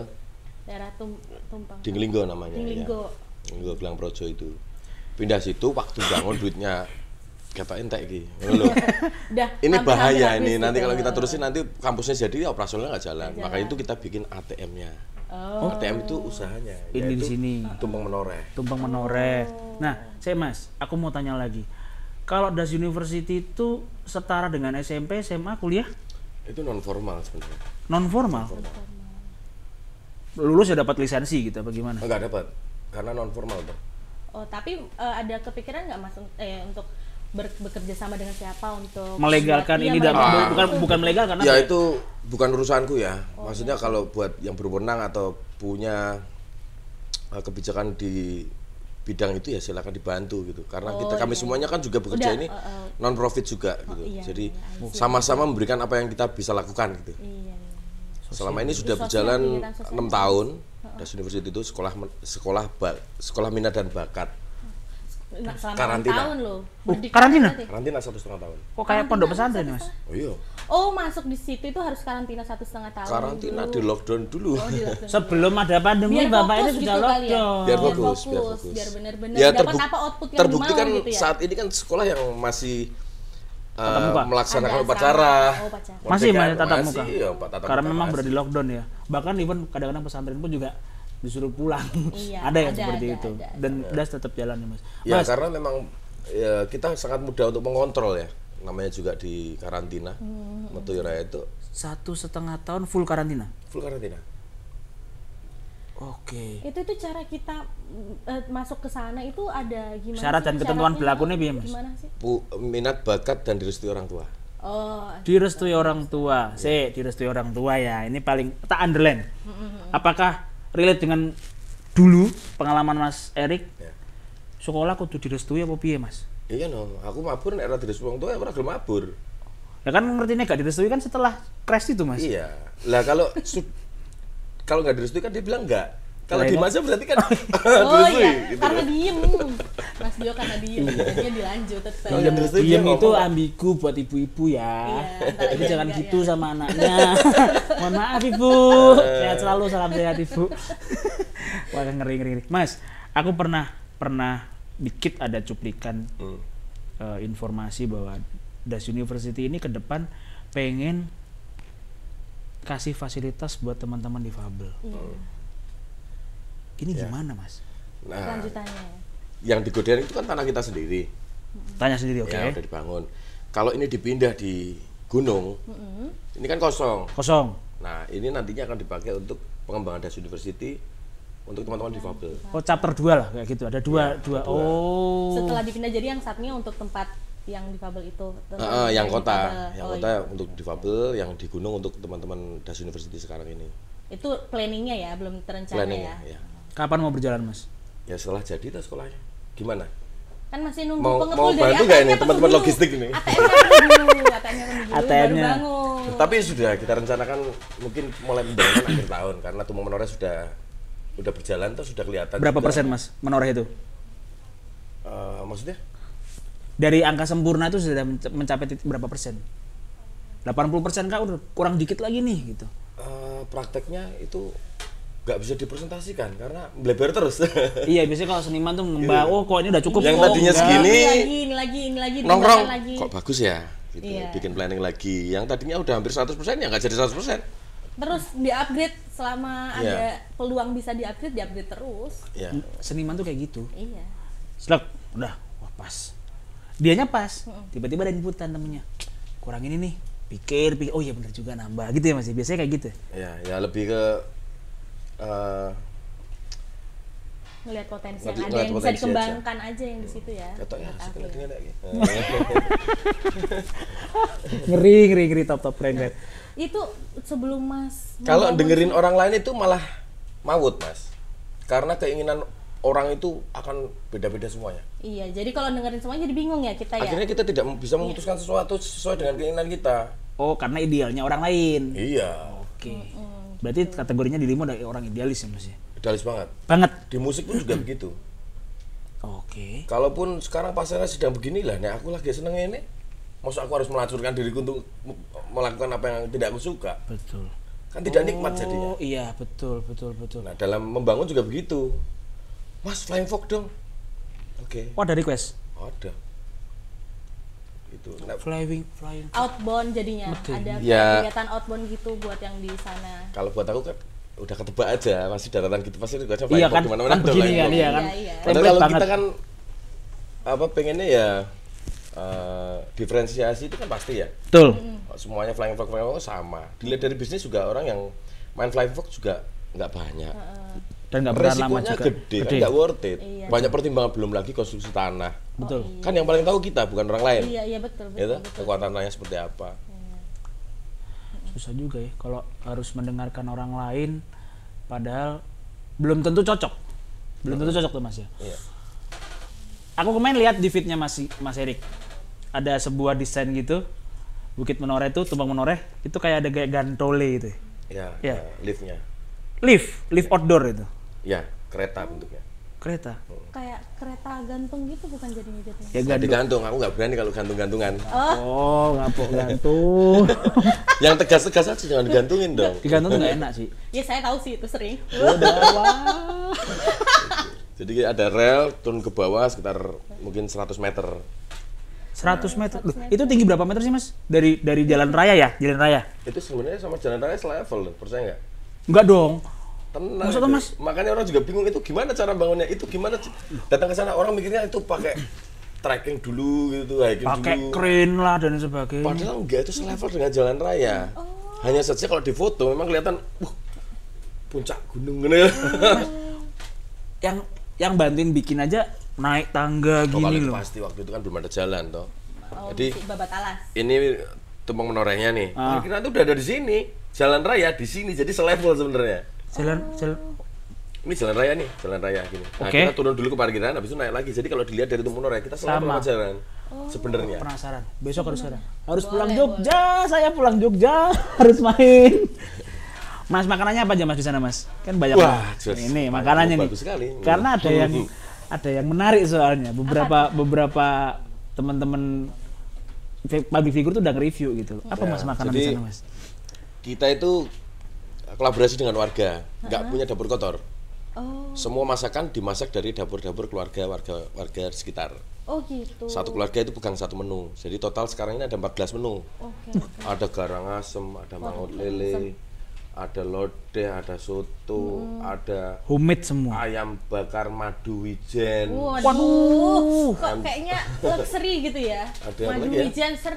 C: Daerah Tum- Tumpang.
A: Dinglinggo namanya
C: Dinglinggo.
A: ya. Dinglinggo Gelang Projo itu pindah situ waktu bangun duitnya kata entek iki Ngono lho.
C: Dah,
A: ini
C: hampir-hampir
A: bahaya
C: habis
A: ini
C: gitu.
A: nanti kalau kita terusin nanti kampusnya jadi operasionalnya ya. nggak jalan Oh. makanya itu kita bikin ATM-nya ATM Ya, itu usahanya
B: ini di
A: yaitu
B: sini.
A: tumpeng menoreh
B: Tumpeng menoreh.
C: Oh.
B: Nah, saya Mas, aku mau tanya lagi. Kalau Das University itu setara dengan SMP, SMA, kuliah?
A: itu non formal sebenarnya
B: non formal lulus ya dapat lisensi gitu apa gimana
A: Oh, nggak dapat karena non formal Bang.
C: Oh, tapi eh, ada kepikiran nggak Mas un- eh, untuk ber- bekerja sama dengan siapa untuk
B: melegalkan
C: Iya,
B: ini dan
A: melegalkan.
B: bukan bukan melegal karena
A: ya itu bukan urusanku ya
C: Oh.
A: maksudnya kalau buat yang berwenang atau punya eh, kebijakan di bidang itu ya silakan dibantu gitu karena kita kami semuanya kan juga bekerja
C: Oh,
A: ini
C: iya. Udah, oh, oh.
A: non profit juga gitu
C: iya,
A: jadi sama-sama memberikan apa yang kita bisa lakukan gitu
C: Iya. iya.
A: selama ini sudah
C: Sosial,
A: berjalan
C: kegiatan sosial.
A: enam tahun Das University itu sekolah men- sekolah ba- sekolah minat dan bakat
C: Nah, selama
A: Karantina.
C: enam tahun loh.
B: Oh, karantina?
A: karantina satu setengah tahun
B: kok kayak pondok pesantren nih mas
A: oh iya
C: Oh, masuk di situ itu harus karantina satu setengah tahun.
A: karantina di lockdown dulu
C: Oh,
B: sebelum ada pandemi
C: Biar
B: bapak ini
C: fokus
B: sudah
C: gitu kali ya.
B: lockdown
A: biar
C: Biar
A: fokus, biar
C: fokus,
A: fokus.
C: biar benar-benar
A: Ya,
C: dapat
A: terbuk-
C: apa output yang
A: terbukti
C: dimau
A: kan
C: gitu ya.
A: saat ini kan sekolah yang masih uh,
B: muka?
A: melaksanakan
C: Ada
A: upacara.
C: asrama. Oh, upacara.
B: masih
A: Merdeka,
B: masih tatap
A: masih,
B: muka
A: ya, Pak, tatap
B: karena
A: muka
B: memang
A: masih.
B: berada di lockdown ya bahkan even kadang-kadang pesantren pun juga disuruh pulang
C: Iya,
B: ada yang
C: ada,
B: seperti
C: ada,
B: itu
C: ada, ada.
B: dan das tetap jalan ya mas
A: Ya,
B: mas
A: karena memang ya, kita sangat mudah untuk mengontrol ya. Namanya juga di
C: Hmm.
A: karantina. Metu ya, Raya itu
B: satu setengah tahun full karantina
A: full karantina.
B: Oke.
C: itu tuh cara kita eh, masuk ke sana itu ada gimana
B: Syarat
C: sih?
B: dan ketentuan
C: Syaratnya
B: berlakunya piye, Mas?
C: gimana sih
A: Pu- minat bakat dan direstui orang tua
C: oh
B: Direstui orang tua. Se, direstui orang tua ya. Ini paling tak underline. Apakah relate dengan dulu pengalaman Mas Erik?
A: Ya.
B: Sekolah kudu direstui apa piye, Mas?
A: iya no aku mabur nek ora direstui orang tua aku ora gelem mabur
B: Ya kan ngerti ini gak direstui kan setelah crash itu, Mas.
A: iya lah kalau su- kalau nggak direstui kan dia bilang enggak kalau
B: Lah,
A: di
B: iya.
A: masa berarti kan
C: Nah, oh
A: direstui
C: iya
A: gitu. Iya.
C: karena diem mas Dio karena diem jadinya dilanjut tetap
A: Kalau nggak direstui dia
B: Diam itu
A: ya, ngomong,
B: ambigu buat ibu-ibu ya.
C: Iya, antara
B: Jadi
C: iya
B: jangan
C: juga,
B: gitu
C: iya.
B: sama anaknya. Mohon maaf ibu.
A: Eh.
B: Sehat selalu, salam sehat ibu. Wah ngeri ngeri. ngeri. Mas, aku pernah pernah dikit ada cuplikan
A: Hmm.
B: eh, informasi bahwa Das University ini ke depan pengen kasih fasilitas buat teman-teman difabel.
C: Iya.
B: Ini
A: Iya.
B: gimana mas?
A: nah
C: lanjutannya
A: yang digodain itu kan tanah kita sendiri
C: Hmm.
B: Tanya sendiri oke.
A: ya udah dibangun kalau ini dipindah di gunung ini kan kosong
B: Kosong.
A: nah ini nantinya akan dipakai untuk pengembangan das university untuk teman-teman difabel
B: Oh chapter dua lah kayak gitu. Ada dua dua. Oh.
C: setelah dipindah jadi yang saatnya untuk tempat yang difabel itu tempat
A: Heeh, yang kota
C: difabel.
A: yang
C: Oh,
A: kota
C: iya.
A: untuk difabel yang di gunung untuk teman-teman das university sekarang ini
C: itu planningnya ya belum terencana
A: planning
C: ya
A: ya
B: Kapan mau berjalan mas?
A: ya setelah jadi tuh sekolahnya gimana
C: kan masih nunggu
A: Mau-
C: pengepul
A: mau
C: dari
A: bantu nggak
C: ATM -nya
A: ini teman-teman
C: dulu.
A: logistik ini?
C: ATM -nya dulu ATM -nya dulu baru
B: ATM-nya.
C: bangun
A: tapi sudah kita rencanakan mungkin mulai menjalankan akhir tahun karena tumbuh menoreh sudah udah berjalan tuh sudah kelihatan
B: Berapa
A: juga.
B: persen mas menoreh itu?
A: Eh, maksudnya
B: Dari angka sempurna itu sudah menca- mencapai titik berapa persen? 80 persen kah udah kurang dikit lagi nih gitu.
A: Eh, prakteknya itu nggak bisa dipresentasikan karena melebar terus.
B: iya biasanya kalau seniman tuh membawa, oh kok ini udah cukup.
A: Yang
B: oh,
A: tadinya
B: enggak."
A: segini,
C: ini lagi ini lagi ini lagi
A: Nongkrong,
C: dimakan lagi.
A: kok bagus ya? Gitu.
C: Iya.
A: Bikin planning lagi. Yang tadinya udah hampir 100% ya nggak jadi 100%.
C: terus di-upgrade selama
A: Iya.
C: ada peluang bisa di-upgrade di-upgrade terus
A: Ya.
B: Seniman tuh kayak gitu.
C: iya
B: Selek, udah, wah pas. Dianya pas, tiba-tiba ada inputan temennya. Kurang ini nih, pikir, pikir, oh iya bener juga nambah gitu ya mas. ya. Biasanya kayak gitu.
A: Ya, ya lebih ke eh,
C: ngelihat potensi
A: Ngeliat-
C: yang ada
A: ngeliat
C: yang bisa
A: potensi aja.
C: dikembangkan aja, yang di situ ya
A: ketok ya harus
C: Upgrade.
A: kelihatannya kayak gitu.
B: ngeri, ngeri, ngeri, top, top, keren, keren.
C: itu sebelum mas
A: Kalau
C: membangun-
A: dengerin orang lain itu malah mawut, Mas. Karena keinginan orang itu akan beda-beda semuanya.
C: iya jadi kalau dengerin semuanya jadi bingung ya kita ya
A: Akhirnya kita tidak bisa memutuskan sesuatu sesuai dengan keinginan kita.
B: Oh karena idealnya orang lain.
A: Iya,
B: Oke. Berarti kategorinya dirimu dari orang idealis ya mas ya?
A: idealis banget.
B: Banget.
A: Di musik pun juga begitu.
B: Oke.
A: Kalaupun sekarang pasarnya sedang beginilah, nah aku lagi seneng ini, masa aku harus melacurkan diriku untuk m- melakukan apa yang tidak aku suka,
B: Betul.
A: kan tidak nikmat jadinya.
B: Oh iya betul betul betul.
A: Nah dalam membangun juga begitu, Mas Flying Fox dong, oke,
B: Oh ada request.
A: ada, itu. Nah,
B: Flying flying.
C: outbound jadinya ada
A: Ya.
C: kegiatan outbound gitu buat yang di sana
A: kalau buat aku kan udah ketebak aja, masih daratan gitu pasti juga
B: Iya kan, kan
A: ada Flying
B: begini kan,
A: Fox.
B: iya kan.
C: Iya, iya.
A: Padahal
B: Template
A: kalau
B: banget.
A: kita kan apa pengennya ya eh, diferensiasi itu kan pasti ya.
B: Betul.
C: Hmm.
A: semuanya flying fox flying fox sama dilihat dari bisnis juga orang yang main flying fox juga nggak banyak
B: Dan nggak pernah lama
A: resikonya
B: juga.
A: gede, kan nggak worth it
C: Iya.
A: banyak pertimbangan belum lagi konstruksi tanah
C: Oh,
B: Betul.
A: kan yang paling tahu kita bukan orang lain
C: iya iya betul
A: ya
C: betul,
A: toh? kekuatan tanahnya seperti apa
C: iya.
B: Susah juga ya kalau harus mendengarkan orang lain, padahal belum tentu cocok. Belum tentu cocok tuh mas ya.
A: Iya.
B: Aku kemarin lihat di feednya mas Mas Erik. Ada sebuah desain gitu. Bukit Menoreh itu, tumbang Menoreh itu kayak ada kayak gantole gitu.
A: ya,
B: ya. Iya.
A: ya, liftnya
B: Lift, lift outdoor itu.
A: ya kereta bentuknya
B: Kereta.
C: kayak kereta gantung gitu bukan jadinya jadinya
B: Ya
A: Nggak digantung aku nggak berani kalau gantung-gantungan
B: Oh, ngapok gantung.
A: yang tegas-tegas aja jangan digantungin dong
B: Digantung tuh nggak enak sih.
C: ya saya tahu sih itu sering
A: Iya. jadi ada rel turun ke bawah sekitar mungkin 100 meter
B: 100 meter. Loh, itu tinggi berapa meter sih, Mas? Dari dari jalan raya ya? Jalan raya.
A: itu sebenarnya sama jalan raya selevel loh, percaya nggak
B: Enggak dong.
A: Tenang.
B: Maksudnya,
A: itu.
B: Mas?
A: Makanya orang juga bingung itu gimana cara bangunnya, itu gimana c- datang ke sana orang mikirnya itu pakai trekking dulu gitu, hiking
B: Pakai
A: dulu.
B: crane lah dan sebagainya.
A: Padahal enggak itu selevel dengan jalan raya. Hanya saja kalau di foto memang kelihatan uh, puncak gunung gitu.
B: yang yang bantuin bikin aja naik tangga
A: Toh, kalau
B: gini
A: itu
B: loh
A: pasti waktu itu kan belum ada jalan toh.
C: Oh,
A: Jadi
C: masih babat alas.
A: ini tumpeng menorehnya nih.
B: Ah.
A: Kemungkinan itu udah ada di sini. Jalan raya di sini jadi selevel sebenarnya.
B: jalan jalan
A: Ini jalan raya nih, jalan raya gini. Nah,
B: Oke.
A: kita turun dulu ke parkiran habis itu naik lagi. Jadi kalau dilihat dari tumpeng menoreh kita selevel
B: Sama.
A: sama jalan. Sebenarnya.
B: penasaran besok harus sekarang harus pulang Jogja saya pulang Jogja harus main Mas makanannya apa aja Mas di sana Mas kan banyak
A: Wah,
B: banget.
A: Jos,
B: ini
A: banyak,
B: makanannya nih
A: bagus sekali. Hmm.
B: karena ada yang ada yang menarik soalnya beberapa beberapa teman-teman fi- public figure tuh udah nge-review gitu loh. apa
A: Ya,
B: Mas makanan di
A: jadi-
B: sana Mas
A: Kita itu kolaborasi dengan warga, nggak punya dapur kotor.
C: Oh,
A: Semua masakan dimasak dari dapur-dapur keluarga warga warga sekitar.
C: oh gitu.
A: Satu keluarga itu pegang satu menu. Jadi total sekarang ini ada 14 menu.
C: Oke.
A: Ada garang asem, ada mangut lele, ada lodeh, ada soto, ada
B: homemade semua
A: ayam bakar madu wijen.
C: Waduh, kok kayaknya luxury gitu ya.
A: Ada apa
C: Madu
A: lagi ya?
C: wijen ser,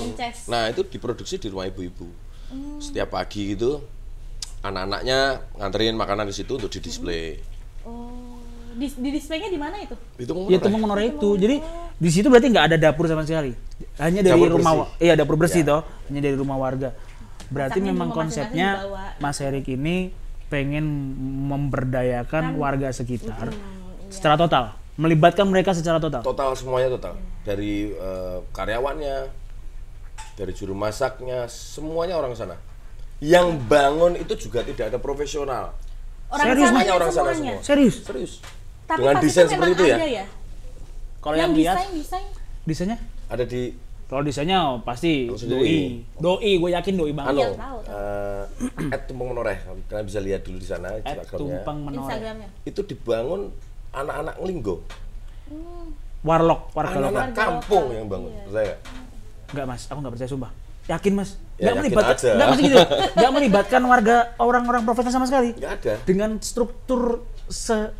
C: ences.
A: Nah, itu diproduksi di rumah ibu-ibu.
C: Mm.
A: Setiap pagi gitu anak-anaknya nganterin makanan di situ untuk di-display.
C: Oh, di, di displaynya di mana itu?
A: Itu mau
B: Ya tumpeng menoreh itu. Jadi di situ berarti nggak ada dapur sama sekali. Hanya dari
A: Dapur
B: rumah
A: bersih.
B: iya dapur bersih toh, hanya dari rumah warga. Berarti
C: Masaknya
B: memang
C: di rumah
B: konsepnya
C: masing-masing
B: Mas Erik ini pengen memberdayakan
C: Kan
B: warga sekitar
C: iya.
B: secara total, melibatkan mereka secara total.
A: total semuanya total
C: Mm.
A: dari eh, karyawannya dari juru masaknya semuanya orang sana yang bangun itu juga tidak ada profesional
C: Orang
B: Serius,
C: sananya
A: hanya orang sana
C: semuanya.
A: semua.
B: Serius.
A: serius
C: Tapi
A: dengan
C: pas
A: desain
C: itu
A: seperti
C: memang
A: itu ya
C: ada ya.
B: Kalau
C: yang
B: yang lihat
C: desain desain
B: desainnya
A: ada di
B: kalau desainnya oh, pasti
A: Harus
B: doi. Doi, gue yakin doi
A: anu
B: banget.
C: Iya, tahu, tahu.
A: eh, at tumpeng menoreh kalian bisa lihat dulu di sana
B: Eh,
A: Instagramnya
B: tumpeng menoreh.
C: Instagramnya.
A: itu dibangun anak-anak linggo
B: Warlock, warga lokal.
A: anak-anak kampung yang bangun percaya nggak?
C: iya.
B: Enggak mas, aku nggak percaya sumpah. Yakin mas?
A: Ya,
B: Nggak
A: yakin
B: melibatkan,
A: aja.
B: nggak mesti gitu. Nggak melibatkan warga orang-orang profesional sama sekali.
A: nggak ada
B: Dengan struktur se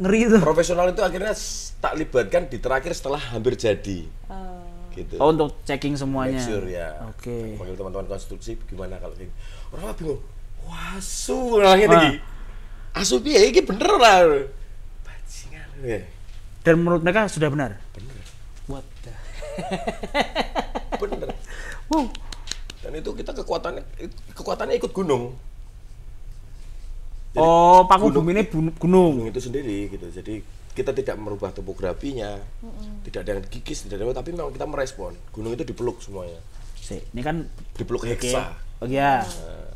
B: ngeri itu.
A: profesional itu akhirnya s- tak libatkan di terakhir setelah hampir jadi
C: Eh,
A: gitu
B: Oh untuk checking semuanya.
A: Make sure ya.
B: Oke.
A: Panggil teman-teman konstruksi gimana kalau kayak gini. Orang mah bingung. Wah, asu orangnya tinggi. Asu piye iki bener lah. Bajingan ya.
B: Dan menurut mereka sudah benar. Benar. What the?
A: Bener.
B: Wow.
A: Dan itu kita kekuatannya kekuatannya ikut gunung.
B: oh, paku bumi ini bu- gunung.
A: Gunung itu sendiri gitu. Jadi kita tidak merubah topografinya, tidak ada yang gigis, tidak ada apa, tapi memang kita merespon. Gunung itu dipeluk semuanya,
B: Sih, ini kan
A: dipeluk
B: oke.
A: heksa.
B: Oh iya.
A: Nah.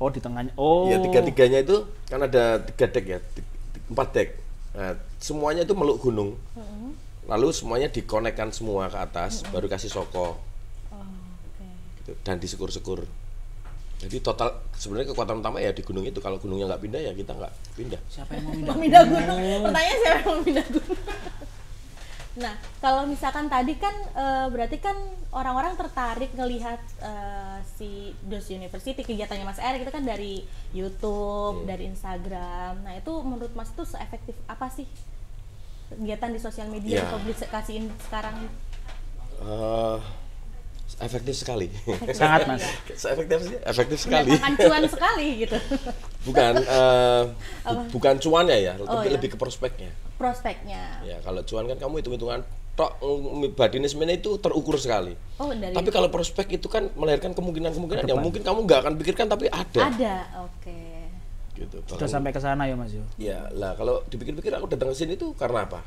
B: Oh di tengahnya. Oh.
A: Ya tiga tiganya itu kan ada tiga dek ya, ti- ti- empat dek. Nah, semuanya itu meluk gunung.
C: Mm-hmm.
A: Lalu semuanya dikonekkan semua ke atas, baru kasih soko
C: oh, oke.
A: gitu, dan disekur-sekur. Jadi total sebenarnya kekuatan utama ya di gunung itu. Kalau gunungnya nggak pindah ya kita nggak pindah.
B: Siapa yang mau mindah?
C: Pemindah gunung. Pertanyaan siapa yang pemindah gunung? Nah, kalau misalkan tadi kan eh, berarti kan orang-orang tertarik ngelihat eh, si Dos University kegiatannya Mas Erik itu kan dari
A: Iya.
C: YouTube, dari Instagram. Nah, itu menurut Mas itu seefektif apa sih kegiatan di sosial
A: Ya.
C: media yang publikasiin sekarang?
A: Eh, efektif sekali.
B: Sangat mas.
A: efektif sih, efektif sekali.
C: Mendatangkan cuan sekali gitu.
A: Bukan eh, bu- bukan cuannya ya,
C: Oh,
A: tapi
C: ya.
A: lebih ke prospeknya.
C: Prospeknya.
A: Ya kalau cuan kan kamu hitung hitungan tok mm, badinis men itu terukur sekali.
C: Oh, dari
A: Tapi kalau prospek itu kan melahirkan kemungkinan-kemungkinan yang mungkin kamu nggak akan pikirkan tapi ada.
C: ada. Oke.
A: Gitu.
B: Sudah
A: Bahkan-
B: sampai ke sana ya mas yo.
A: ya lah kalau dipikir-pikir aku datang ke sini itu karena apa?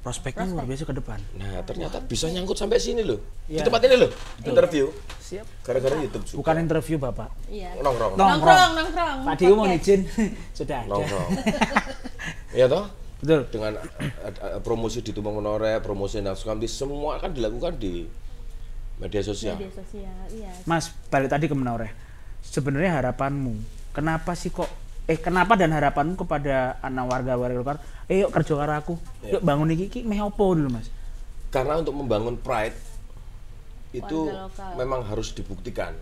B: Prospeknya luar biasa ke depan.
A: Nah ternyata bisa nyangkut sampai sini loh. Di tempat ini loh. Interview.
B: Siap.
A: Gara-gara YouTube juga.
B: Bukan interview bapak.
C: Iya.
A: Nongkrong.
C: Nongkrong, nongkrong.
B: Pak Dio mau
C: Podcast.
B: izin. sudah ada.
A: Nongkrong. Iya toh?
B: Betul.
A: Dengan eh, eh, promosi di Tumpeng Menoreh, promosi di Sukamti, semua kan dilakukan di media sosial.
C: media sosial iya
B: Mas, balik tadi ke Menoreh. Sebenarnya harapanmu, kenapa sih kok eh kenapa dan harapanmu kepada anak warga warga lokal, eh yuk kerja karo aku,
A: Iya.
B: yuk bangun iki iki meh opo dulu Mas.
A: karena untuk membangun pride itu
C: Warga lokal.
A: memang harus dibuktikan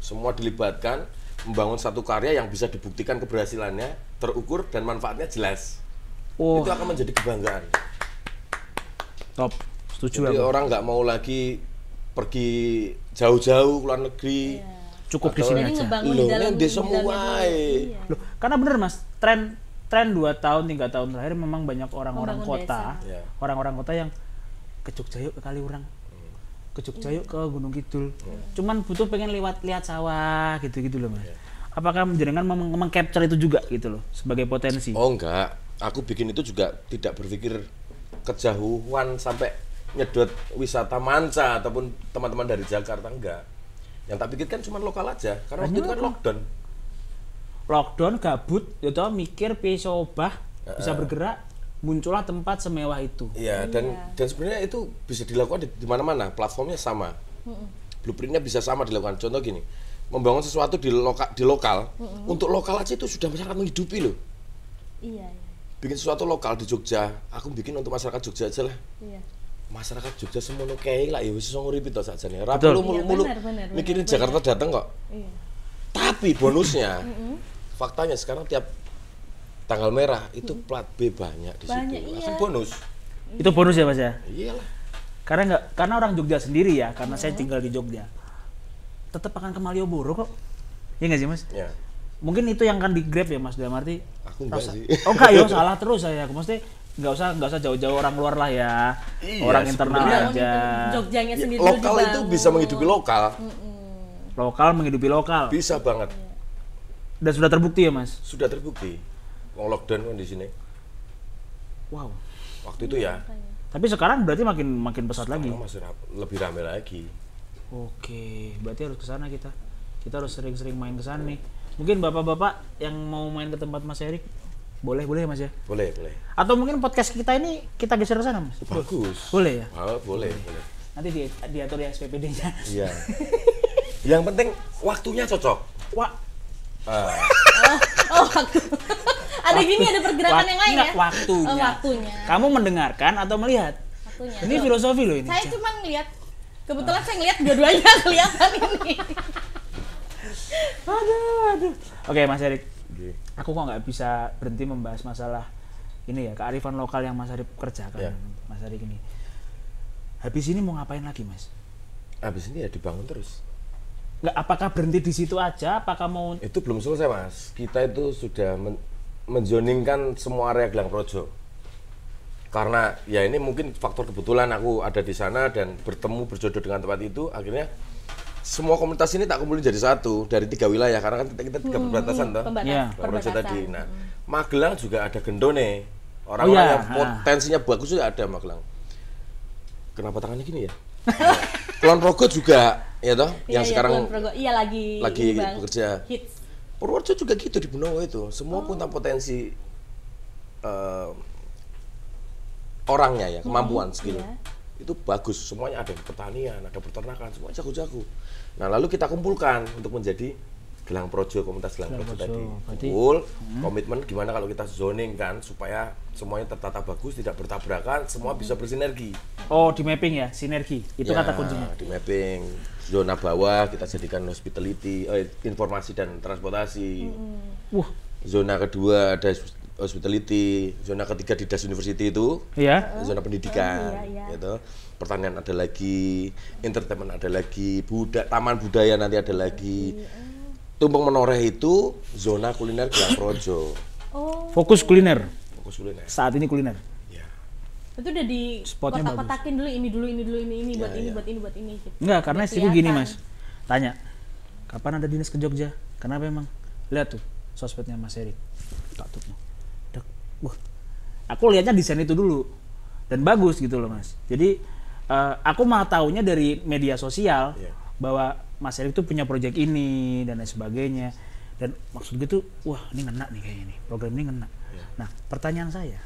A: semua dilibatkan membangun satu karya yang bisa dibuktikan keberhasilannya terukur dan manfaatnya jelas
B: Oh,
A: itu akan menjadi kebanggaan
B: top. Setuju
A: jadi oh,
B: aku.
A: orang nggak mau lagi pergi jauh-jauh ke luar negeri
B: cukup di
A: Atau-
B: sini
C: Jadi
B: aja.
C: ngebangun di
A: Loh,
C: Iya. dalam
A: yang desa
C: di dalamnya dulu.
A: muai.
C: Iya.
B: Loh, karena bener mas, tren tren dua tahun tiga tahun terakhir memang banyak orang-orang
C: Membangun
B: kota,
A: desa. Ya.
B: orang-orang kota yang ke Jogja yuk ke Kaliurang, ke Jogja yuk ke Gunung Kidul, cuman butuh pengen lewat lihat sawah gitu-gitu loh mas. Apakah menjenengan mau meng- meng-capture itu juga gitu loh sebagai potensi?
A: Oh enggak, aku bikin itu juga tidak berpikir kejauhan sampai nyedot wisata manca ataupun teman-teman dari Jakarta enggak. Yang tak pikirkan cuma lokal aja, karena waktu itu kan lockdown.
B: Lockdown gabut, ya toh mikir piye obah bisa bergerak, muncullah tempat semewah itu.
A: Iya, dan dan sebenarnya itu bisa dilakukan di, di mana-mana, platformnya sama. Blueprintnya bisa sama dilakukan. Contoh gini, membangun sesuatu di lokal di lokal untuk lokal aja itu sudah sangat menghidupi loh.
C: Iya, iya,
A: Bikin sesuatu lokal di Jogja, aku bikin untuk masyarakat Jogja aja lah.
C: iya.
A: masyarakat Jogja semono kei lah ya wis iso nguripi to sakjane. Ora
B: Betul.
A: perlu mulu-mulu
C: Iya, benar, benar, benar,
A: mikirin
C: benar.
A: Jakarta datang kok.
C: iya.
A: Tapi bonusnya faktanya sekarang tiap tanggal merah itu plat B banyak di
C: Banyak,
A: situ.
C: iya.
A: Kan bonus.
B: Itu bonus ya mas ya.
A: Iyalah.
B: Karena nggak, karena orang Jogja sendiri ya, karena saya tinggal di Jogja, tetap akan ke Malioboro kok. Iya nggak sih mas?
A: Ya.
B: Mungkin itu yang akan di grab ya mas dalam arti.
A: Aku enggak
B: rasa-
A: sih.
B: Oh enggak ya, salah terus saya. Aku mesti nggak usah nggak usah jauh-jauh orang luar lah ya,
A: Iya,
B: orang internal
A: sebenarnya-
B: aja.
C: Jogjanya
A: Ya,
C: sendiri
A: lokal
C: dulu
A: itu
C: dibangun.
A: bisa menghidupi lokal.
B: Lokal menghidupi lokal
A: Bisa banget.
C: Iya.
B: dan sudah terbukti ya mas.
A: Sudah terbukti. Wong lockdown kan di sini.
B: Wow.
A: Waktu
C: Iya,
A: itu ya.
B: Tapi sekarang berarti makin makin pesat lagi.
A: Sekarang masih ra- lebih rame lagi.
B: Oke, berarti harus ke sana kita. Kita harus sering-sering main ke sana nih. Mungkin bapak-bapak yang mau main ke tempat Mas Erik, boleh boleh ya mas ya.
A: Boleh, boleh.
B: Atau mungkin podcast kita ini kita geser ke sana, Mas.
A: Bagus.
B: Boleh ya?
A: Ah, boleh, boleh.
B: Nanti di, diatur ya SPPD-nya.
A: Iya. Yang penting waktunya cocok.
B: Wah,
A: Ah.
C: Oh, waktu. ada gini ada pergerakan yang lain ya?
B: enggak, waktunya.
C: Oh, waktunya.
B: Kamu mendengarkan atau melihat?
C: Waktunya.
B: Ini
C: Loh,
B: filosofi loh ini.
C: saya cuma ngeliat kebetulan saya ngeliat dua-duanya kelihatan ini.
B: Aduh, aduh. Oke, Mas Erik.
A: Nggih.
B: Aku kok nggak bisa berhenti membahas masalah ini ya, kearifan lokal yang Mas Arif kerjakan.
A: Iya.
B: Mas Arif ini. Habis ini mau ngapain lagi, Mas?
A: Habis ini ya dibangun terus.
B: Nggak, apakah berhenti di situ aja? Apakah mau
A: Itu belum selesai mas. Kita itu sudah men menjoningkan semua area Gelang Projo. Karena ya ini mungkin faktor kebetulan aku ada di sana dan bertemu berjodoh dengan tempat itu akhirnya semua komunitas ini tak kumpulin jadi satu dari tiga wilayah karena kan kita, kita tiga perbatasan toh.
C: Pembatas,
B: Iya.
A: Gelang Projo
C: perbatasan.
A: tadi. Nah, Magelang juga ada Gendone. Orang-orang
B: Oh, iya.
A: yang potensinya bagus juga ada Magelang. Kenapa tangannya gini ya? Kulon Progo juga ya toh yang
C: Iya, iya,
A: sekarang
C: Kulon Progo. iya lagi
A: lagi
C: ini, Bang.
A: bekerja.
C: Hits.
A: Purworejo juga gitu di Benowo itu. Semua punya potensi eh, orangnya ya, kemampuan skill.
C: iya.
A: Itu bagus, semuanya ada pertanian, ada peternakan, semua jago-jago. Nah, lalu kita kumpulkan untuk menjadi Gelang Projo, komunitas Gelang
B: Gelang
A: Projo
B: Projo,
A: tadi.
B: berarti- Hmm.
A: Kumpul, komitmen gimana kalau kita zoning kan supaya semuanya tertata bagus, tidak bertabrakan, semua bisa bersinergi.
B: Oh, di mapping ya, sinergi. Itu
A: Ya,
B: kata kuncinya.
A: Di mapping zona bawah kita jadikan hospitality, eh, informasi dan transportasi.
B: Wah,
A: Zona kedua ada hospitality, zona ketiga di Das University itu
B: iya.
A: zona pendidikan,
C: Oh, iya, iya.
A: gitu. Pertanian ada lagi, entertainment ada lagi, budak taman budaya nanti ada lagi.
C: Iya,
A: Tumpeng Menoreh itu zona kuliner Gelang Projo.
C: Oh,
B: Fokus kuliner.
A: Fokus kuliner.
B: Saat ini kuliner.
A: Ya.
C: itu udah di
B: Spotnya bagus.
C: kotak-kotakin dulu ini dulu ini dulu ini ini buat
A: Iya,
C: ini
A: iya.
C: buat ini buat ini gitu.
B: Enggak, karena
C: Udah
B: istriku gini
C: kelihatan.
B: mas. Tanya, kapan ada dinas ke Jogja? Kenapa emang? Lihat tuh, sosmednya mas Erik. Tak tuh. Dek. Wah, aku lihatnya desain itu dulu dan bagus gitu loh mas. Jadi eh, aku mah taunya dari media sosial
A: Iya.
B: bahwa mas Erik tuh punya proyek ini dan lain sebagainya. Dan maksud gue tuh, wah ini ngena nih kayaknya nih, program ini ngena. Nah, pertanyaan saya,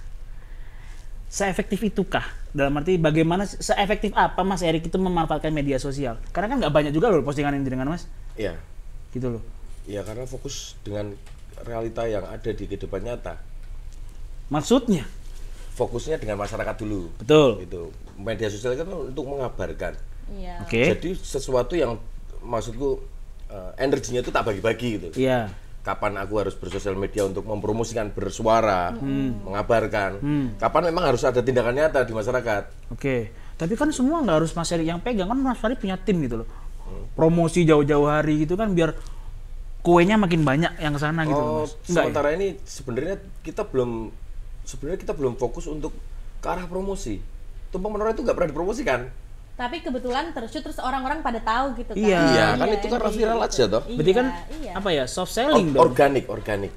B: seefektif itukah dalam arti bagaimana seefektif apa Mas Erik itu memanfaatkan media sosial karena kan nggak banyak juga loh postingan yang dengan Mas
A: Ya.
B: gitu loh
A: Ya karena fokus dengan realita yang ada di kehidupan nyata.
B: maksudnya
A: Fokusnya dengan masyarakat dulu.
B: betul
A: Itu media sosial kan untuk mengabarkan.
C: Iya.
B: oke
A: Jadi sesuatu yang maksudku eh, energinya itu tak bagi-bagi gitu.
B: iya
A: Kapan aku harus bersosial media untuk mempromosikan, bersuara,
B: Hmm.
A: mengabarkan. Kapan memang harus ada tindakan nyata di masyarakat.
B: oke tapi kan semua nggak harus Mas Erik yang pegang kan Mas Farid punya tim gitu loh promosi jauh-jauh hari gitu kan biar kuenya makin banyak yang ke sana gitu loh,
A: Oh,
B: Mas. Enggak ya?
A: sementara ini sebenarnya kita belum sebenarnya kita belum fokus untuk ke arah promosi. Tumpeng menoreh itu nggak pernah kan? dipromosikan.
C: Tapi kebetulan terus terus orang-orang pada tahu gitu kan.
B: Iya.
A: Iya, kan itu kan
C: kayak
A: viral
C: gitu.
A: aja toh.
B: Berarti kan
C: iya.
B: apa ya soft
A: Or-
B: selling dong.
A: organik, organik.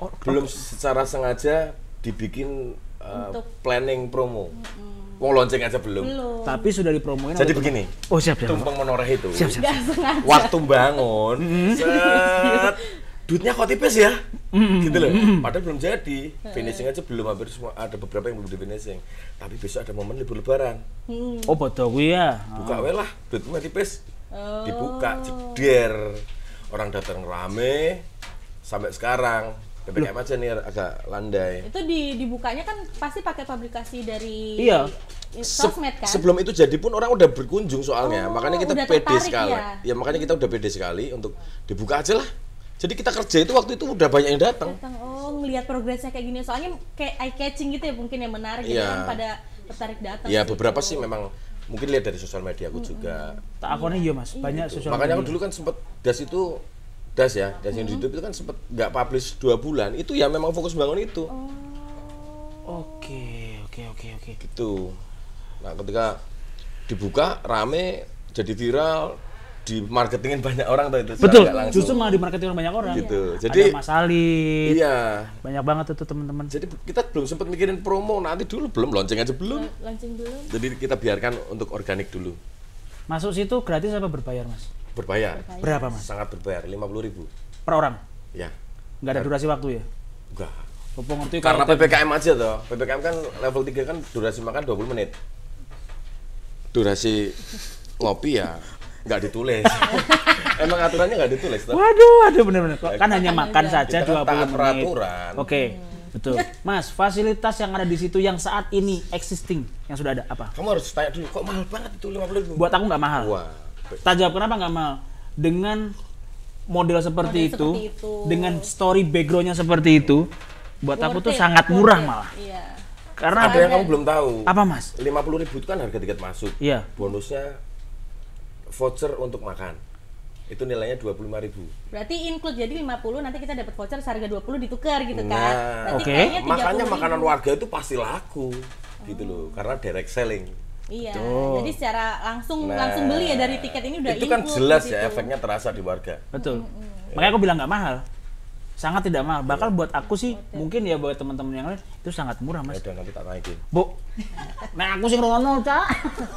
B: Or-
A: Belum secara sengaja dibikin uh,
C: Untuk-
A: planning promo. Mau launching aja belum.
C: Belum.
B: Tapi sudah dipromoin.
A: Jadi
B: oleh-
A: begini,
B: Oh siap siap.
A: tumpeng menoreh itu
B: Siap siap. Mm-hmm.
C: Gak sengaja.
A: waktu bangun, set, duitnya kok tipis ya,
B: Mm-hmm.
A: gitu loh. Padahal belum jadi, finishing aja belum hampir semua ada beberapa yang belum di finishing. Tapi besok ada momen libur lebaran,
C: Hmm.
B: Oh bodoh gue ya.
A: buka we lah, duitmu tipis,
C: Oh.
A: dibuka, jeder, orang datang rame, sampai sekarang ppkm aja nih agak landai.
C: Itu di dibukanya kan pasti pakai publikasi dari
B: Iya.
C: i-
A: Se-
C: sosmed kan.
A: Sebelum itu jadi pun orang udah berkunjung soalnya,
C: Oh,
A: makanya kita
C: udah
A: pede
C: tertarik
A: sekali.
C: ya?
A: Ya makanya kita udah pede sekali untuk dibuka aja lah. Jadi kita kerja itu waktu itu udah banyak yang datang.
C: Tentang oh ngelihat progresnya kayak gini soalnya kayak eye catching gitu ya mungkin yang menarik gitu
A: Iya.
C: kan pada tertarik datang.
A: Ya
C: gitu.
A: beberapa sih memang mungkin lihat dari sosial media aku juga.
B: Tak akunnya iya mas. Banyak sosial
A: Makanya aku
B: media.
A: dulu kan sempet das itu das ya, das yang di YouTube itu kan sempet nggak publish dua bulan. Itu ya memang fokus bangun itu.
C: Oh.
B: Oke oke oke oke.
A: Gitu. Nah ketika dibuka rame jadi viral di marketingin banyak orang tuh itu secara
B: Betul.
A: nggak langsung.
B: Justru malah dimarketing orang banyak orang.
A: Gitu.
B: Jadi
A: Jadi-
B: ada Mas Alid.
A: Iya.
B: Banyak banget itu teman-teman.
A: Jadi kita belum sempat mikirin promo nanti dulu belum launching aja belum.
C: Launching dulu.
A: Jadi kita biarkan untuk organik dulu.
B: Masuk situ gratis apa berbayar mas?
A: Berbayar.
B: Berapa mas?
A: Sangat berbayar, 50.000 ribu.
B: Per orang?
A: Ya.
B: Nggak ada durasi waktu ya?
A: Enggak.
B: Popo ngerti
A: Karena
B: kalau-
A: PPKM aja toh. PPKM kan level 3 kan durasi makan 20 menit. Durasi ngopi ya nggak ditulis. Emang aturannya nggak ditulis toh.
B: Waduh, waduh bener-bener. Kok Kan hanya makan saja
A: Kita kan
B: 20
A: taat
B: menit. Oh.
A: peraturan.
B: Oke, betul. Mas, fasilitas yang ada di situ yang saat ini existing yang sudah ada apa?
A: Kamu harus tanya dulu kok mahal banget itu 50 ribu.
B: Buat aku nggak mahal.
A: Wah.
B: Tak jawab kenapa nggak mahal. Dengan model seperti,
C: Model
B: itu,
C: seperti itu.
B: dengan story backgroundnya seperti itu, buat aku
C: Worth
B: tuh
C: it,
B: sangat
C: worth
B: murah
C: it.
B: malah.
C: Iya.
B: Karena
A: Ada yang kamu belum tahu.
B: ya? apa mas?
A: 50 ribu itu kan harga tiket masuk.
B: Iya.
A: Bonusnya voucher untuk makan. Itu nilainya 25 ribu.
C: Berarti include jadi 50 nanti kita dapat voucher seharga 20 ditukar gitu kan.
A: Nah,
C: Berarti
B: Oke.
C: kayaknya 30
A: Makanya
C: ribu. Oh.
A: makanan warga itu pasti laku. Gitu loh, karena direct selling.
C: Iya. Jadi secara langsung langsung beli ya dari tiket ini udah
A: Nah. itu kan
C: include gitu.
A: jelas
C: di
A: ya
C: situ.
A: efeknya terasa di warga
C: Mm,
B: Betul. Makanya aku bilang nggak mahal. Sangat tidak mahal.
C: Iya.
B: Bakal buat aku sih, mungkin ya buat teman-teman yang lain itu sangat murah
A: ya
B: mas.
A: udah nanti tak naikin
B: Bu, nah aku sih Rono, Cak.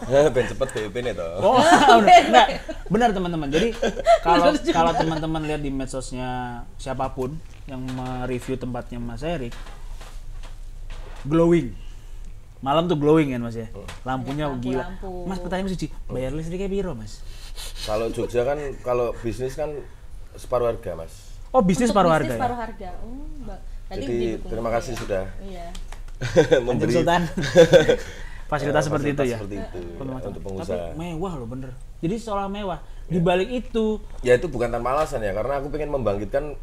A: Eh, ben cepet DP nih toh
B: Oh, benar. Nggak, benar teman-teman. Jadi kalau kalau teman-teman lihat di medsosnya siapapun yang mereview tempatnya Mas Erik, glowing. Malam tuh glowing kan Mas ya. Lampunya gila.
C: lampu-lampu.
B: Mas pertanyaan siji, bayar listriknya piro Mas?
A: kalau Jogja kan kalau bisnis kan separuh harga mas
B: Oh, bisnis
C: Untuk
B: paruh harga.
C: Bisnis
B: Ya?
C: paruh harga. Oh, Mbak. Nanti
A: jadi
C: didukung.
A: terima kasih sudah
C: Iya.
B: Kanjeng
A: memberi
B: Sultan.
A: eh,
B: Fasilitas seperti itu
A: fasilitas
B: ya.
A: seperti itu, ya,
B: Teman-teman.
A: untuk
B: Tapi
A: pengusaha
B: mewah loh bener. Jadi seolah mewah. Di balik itu
A: ya itu bukan tanpa alasan ya karena aku pengen membangkitkan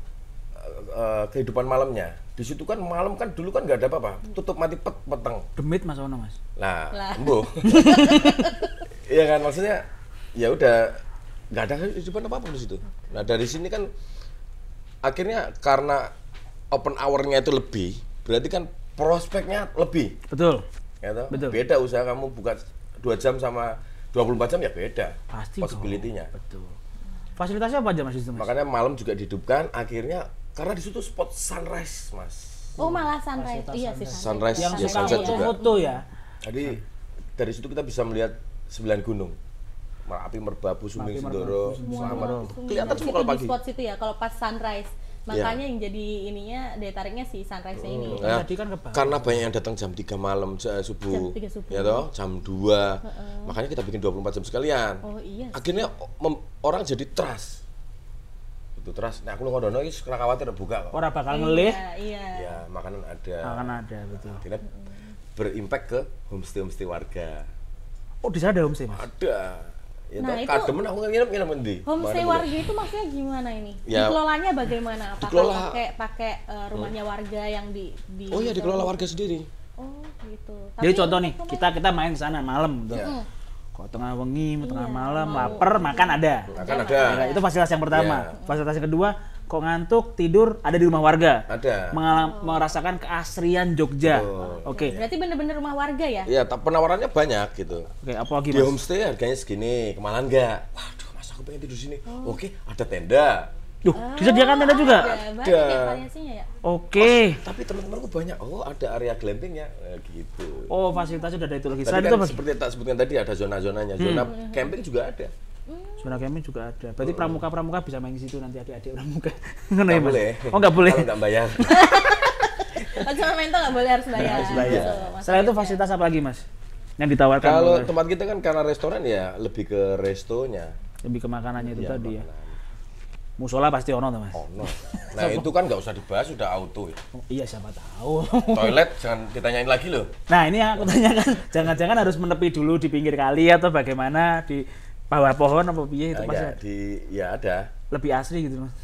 A: eh, eh, kehidupan malamnya di situ kan malam kan dulu kan nggak ada apa-apa tutup mati pet peteng
B: demit Mas Ono Mas.
A: Nah,
C: Lah.
A: embo. Iya kan maksudnya ya udah nggak ada kehidupan apa apa di situ. Nah dari sini kan akhirnya karena open hour-nya itu lebih, berarti kan prospeknya lebih.
B: Betul.
A: Ya toh?
B: Betul.
A: Beda usaha kamu buka dua jam sama 24 jam ya beda
B: Pasti dong.
A: possibility-nya.
B: Betul. Fasilitasnya apa aja Mas di situ Mas?
A: Makanya malam juga dihidupkan akhirnya karena di situ spot sunrise, Mas.
C: Oh, malah sunrise. Iya sih
A: Sunrise,
B: yang
A: ya
B: suka
A: sunset juga.
B: foto-foto ya
C: Nah.
A: Jadi dari situ kita bisa melihat sembilan gunung. Merapi, Merbabu, Sumbing, Sindoro, Slamet. Kelihatan semua kalau pagi. Iya.
C: Di spot situ ya kalau pas sunrise. Makanya yang jadi ininya daya tariknya si sunrise ini.
A: Nah,
B: Tadi kan kebangun.
A: karena banyak yang datang jam 3 malam se- eh, subuh,
C: Jam 3 subuh.
A: ya toh jam 2 makanya kita bikin 24 jam sekalian
C: Oh, iya.
A: akhirnya o- mem- orang jadi trust itu trust nah aku lu ngodono ini sekarang khawatir buka kok
B: orang bakal ngelih
C: Iya, iya.
A: ya makanan ada
B: akan ada betul
A: akhirnya berimpact ke homestay homestay warga
B: oh di sana ada homestay mas
A: ada ya
C: Nah,
A: toh
C: itu-
A: kademen aku nginep nginep ngendi Mana
C: Homestay
A: bu-
C: warga itu maksudnya gimana ini?
A: Ya.
C: Dikelolanya bagaimana? Apakah
A: Dikelola.
C: pakai pakai eh, rumahnya warga yang di, di
A: oh iya dikelola warga sendiri
C: Oh gitu.
B: jadi
C: Tapi
B: contoh nih
C: untuk
B: kita kita main ke sana malam gitu.
A: Iya.
B: Kalau Kok tengah wengi, mau tengah
C: Iya,
B: malam,
C: mau-
B: lapar, makan ada.
A: Makan
C: Ada,
A: kan ada.
B: Nah, itu fasilitas yang pertama.
A: Iya.
B: Fasilitas yang kedua, kok ngantuk, tidur, ada di rumah warga.
A: Ada.
B: Mengalam- merasakan keasrian Jogja. Oke.
C: Berarti bener-bener rumah warga ya?
A: Iya, ta- penawarannya banyak gitu.
B: Oke, apa lagi,
A: Di
B: Mas?
A: homestay harganya segini, kemana enggak? Waduh, masa aku pengen tidur di sini?
C: Oh.
A: Oke, ada tenda.
B: Duh, disediakan tenda juga?
A: Ah, iya.
C: Ada, banyak ya
A: Ada.
C: variasinya ya?
B: Oke.
A: Tapi teman-temanku banyak. Oh, ada area glamping ya, Eh, gitu.
B: Oh, fasilitasnya udah ada itu lagi. Selain
A: Tadi
B: itu,
A: kan
B: Mas,
A: seperti yang tak sebutkan tadi ada zona-zonanya. Zona
C: Hmm,
A: camping juga ada.
B: zona camping juga ada. Berarti pramuka-pramuka bisa main di situ nanti adik-adik pramuka.
A: Oh.
B: Ngono ya,
A: Nggak
B: Mas?
A: boleh.
B: Oh, nggak boleh.
A: Kalau nggak bayar.
C: Kalau cuma main tuh nggak boleh harus bayar.
B: Harus bayar.
C: Gitu, Mas.
B: Iya. Selain itu fasilitas apa lagi, Mas? Yang ditawarkan
A: iya. Kalau
B: oleh-
A: tempat kita kan karena restoran ya lebih ke restonya.
B: lebih ke makanannya itu tadi ya. Musola pasti ono tuh,
A: Iya,
B: Mas.
A: Oh, no. Nah itu kan nggak usah dibahas sudah auto. ya.
B: Oh, iya, siapa tahu.
A: Toilet jangan ditanyain lagi loh.
B: nah, ini yang aku tanyakan, jangan-jangan harus menepi dulu di pinggir kali atau bagaimana di bawah pohon apa piye itu
A: Nah,
B: pasti
A: nggak, di ya ada.
B: lebih asri gitu, Mas.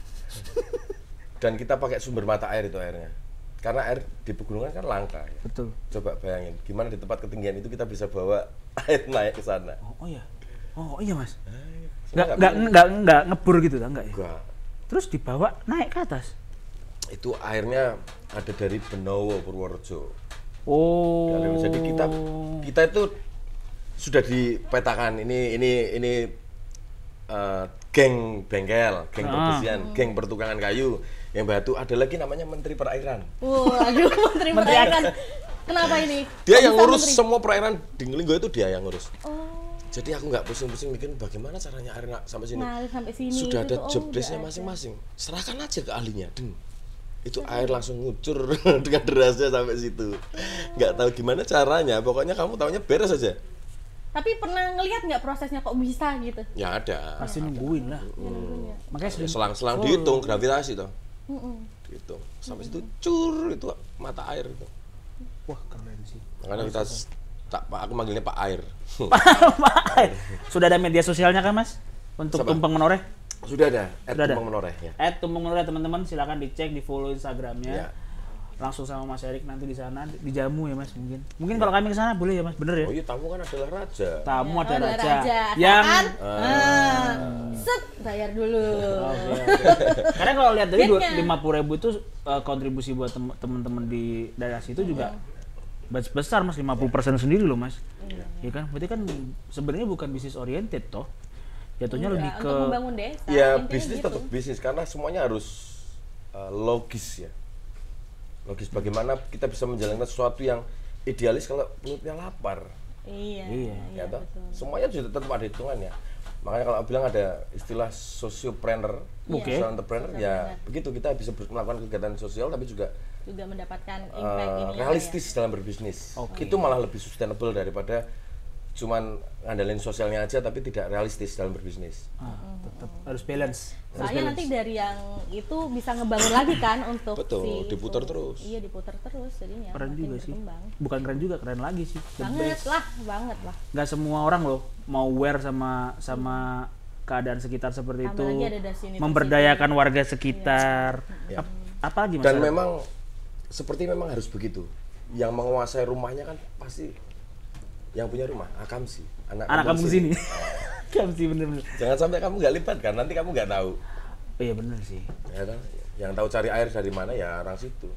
A: Dan kita pakai sumber mata air itu airnya. Karena air di pegunungan kan langka. ya.
B: Betul.
A: Coba bayangin, gimana di tempat ketinggian itu kita bisa bawa air naik ke sana.
B: Oh, oh iya. Oh, iya, Mas.
A: Sebenarnya
B: Nggak, nggak, nggak, nggak ngebur gitu, nggak ya?
A: Nggak.
B: Terus dibawa naik ke atas.
A: Itu airnya ada dari Benowo Purworejo.
B: Oh.
A: Galeri. Jadi kita kita itu sudah dipetakan ini ini ini eh, geng bengkel,
C: Ah.
A: geng perbesian,
C: Hmm.
A: geng pertukangan kayu. Yang batu ada lagi namanya Menteri Perairan.
C: Oh, Waduh, Menteri Perairan. Kenapa ini?
A: Dia yang
C: Bisa
A: ngurus
C: menteri?
A: semua perairan di Ngelinggo itu dia yang ngurus.
C: Oh,
A: Jadi aku nggak pusing-pusing mikir bagaimana caranya air na- sampai sini.
C: ngalir sampai sini.
A: Sudah
C: Nah, itu
A: ada
C: tuh, oh,
A: job
C: udah
A: desk-nya
C: ada.
A: masing-masing. Serahkan aja ke ahlinya. Deng. Itu air langsung ngucur dengan derasnya sampai situ. Nggak tahu gimana caranya. Pokoknya kamu taunya beres aja.
C: Tapi pernah ngelihat nggak prosesnya kok bisa gitu?
A: Ya ada.
B: pasti nungguin lah. Hmm.
A: Iya, Ya,
B: Makanya sering
A: selang-selang dihitung gravitasi toh. Dihitung. Sampai situ cur itu mata air itu.
B: wah keren sih.
A: Makanya kita s- tak Pak, aku manggilnya Pak Air.
B: Pak, Sudah ada media sosialnya kan Mas? Untuk
A: Sama.
B: Tumpeng Menoreh?
A: Sudah ada, Ed
B: Sudah ada.
A: Tumpeng Menoreh ya.
B: At Tumpeng Menoreh teman-teman silakan dicek di follow Instagramnya.
A: Ya.
B: Langsung sama Mas Erik nanti di sana dijamu ya Mas mungkin. Mungkin kalau kami ke sana boleh ya Mas, bener ya?
A: Oh iya, tamu kan adalah raja.
B: Tamu ada
C: Oh, ada
B: raja.
C: raja.
B: Yang
C: Kan? Ah. Set, bayar dulu.
B: Oke, oke. Karena kalau lihat dari
C: Lihatnya.
B: lima puluh ribu itu eh, kontribusi buat tem- teman-teman di daerah situ juga bes- besar mas 50 sendiri loh mas. Iya kan, berarti kan sebenarnya bukan bisnis oriented toh, jatuhnya
C: Enggak,
B: lebih ke
C: Iya, untuk membangun desa.
A: Ya
C: intinya
A: bisnis
C: gitu.
A: tetap bisnis karena semuanya harus eh, logis ya. Logis bagaimana kita bisa menjalankan sesuatu yang idealis kalau perutnya lapar.
C: Iya.
B: Iya.
A: ya toh? Semuanya juga tetap ada hitungannya. Makanya kalau aku bilang ada istilah sosiopreneur,
B: Iya. Oke.
A: social entrepreneur, ya begitu kita bisa ber- melakukan kegiatan sosial tapi juga
C: Juga mendapatkan
A: eh,
C: impact ini.
B: ya.
C: ya,
A: realistis dalam berbisnis. Itu malah lebih sustainable daripada cuman ngandelin sosialnya aja tapi tidak realistis dalam berbisnis.
B: Ah, tetap harus balance.
C: Hmm. Soalnya nanti dari yang itu bisa ngebangun lagi kan untuk
A: Betul,
C: si
A: diputar
C: itu.
A: terus.
C: Iya, diputar terus jadinya.
B: Keren
C: makin
B: juga sih,
C: berkembang.
B: bukan keren juga keren lagi sih.
C: Banget lah, banget lah.
B: Gak semua orang loh mau aware sama sama keadaan sekitar seperti
C: Tambah
B: itu,
C: lagi ada dari sini,
B: memberdayakan warga sekitar.
A: Iya.
B: Ap- apa lagi mas?
A: Dan
B: Erik?
A: memang seperti memang harus begitu. Yang menguasai rumahnya kan pasti yang punya rumah, akam sih.
B: anak kamu sini. kamu sih bener-bener.
A: Jangan sampai kamu nggak lipat kan, nanti kamu nggak tahu.
B: Oh, iya bener sih.
A: Ya kan? Yang tahu cari air dari mana ya orang situ.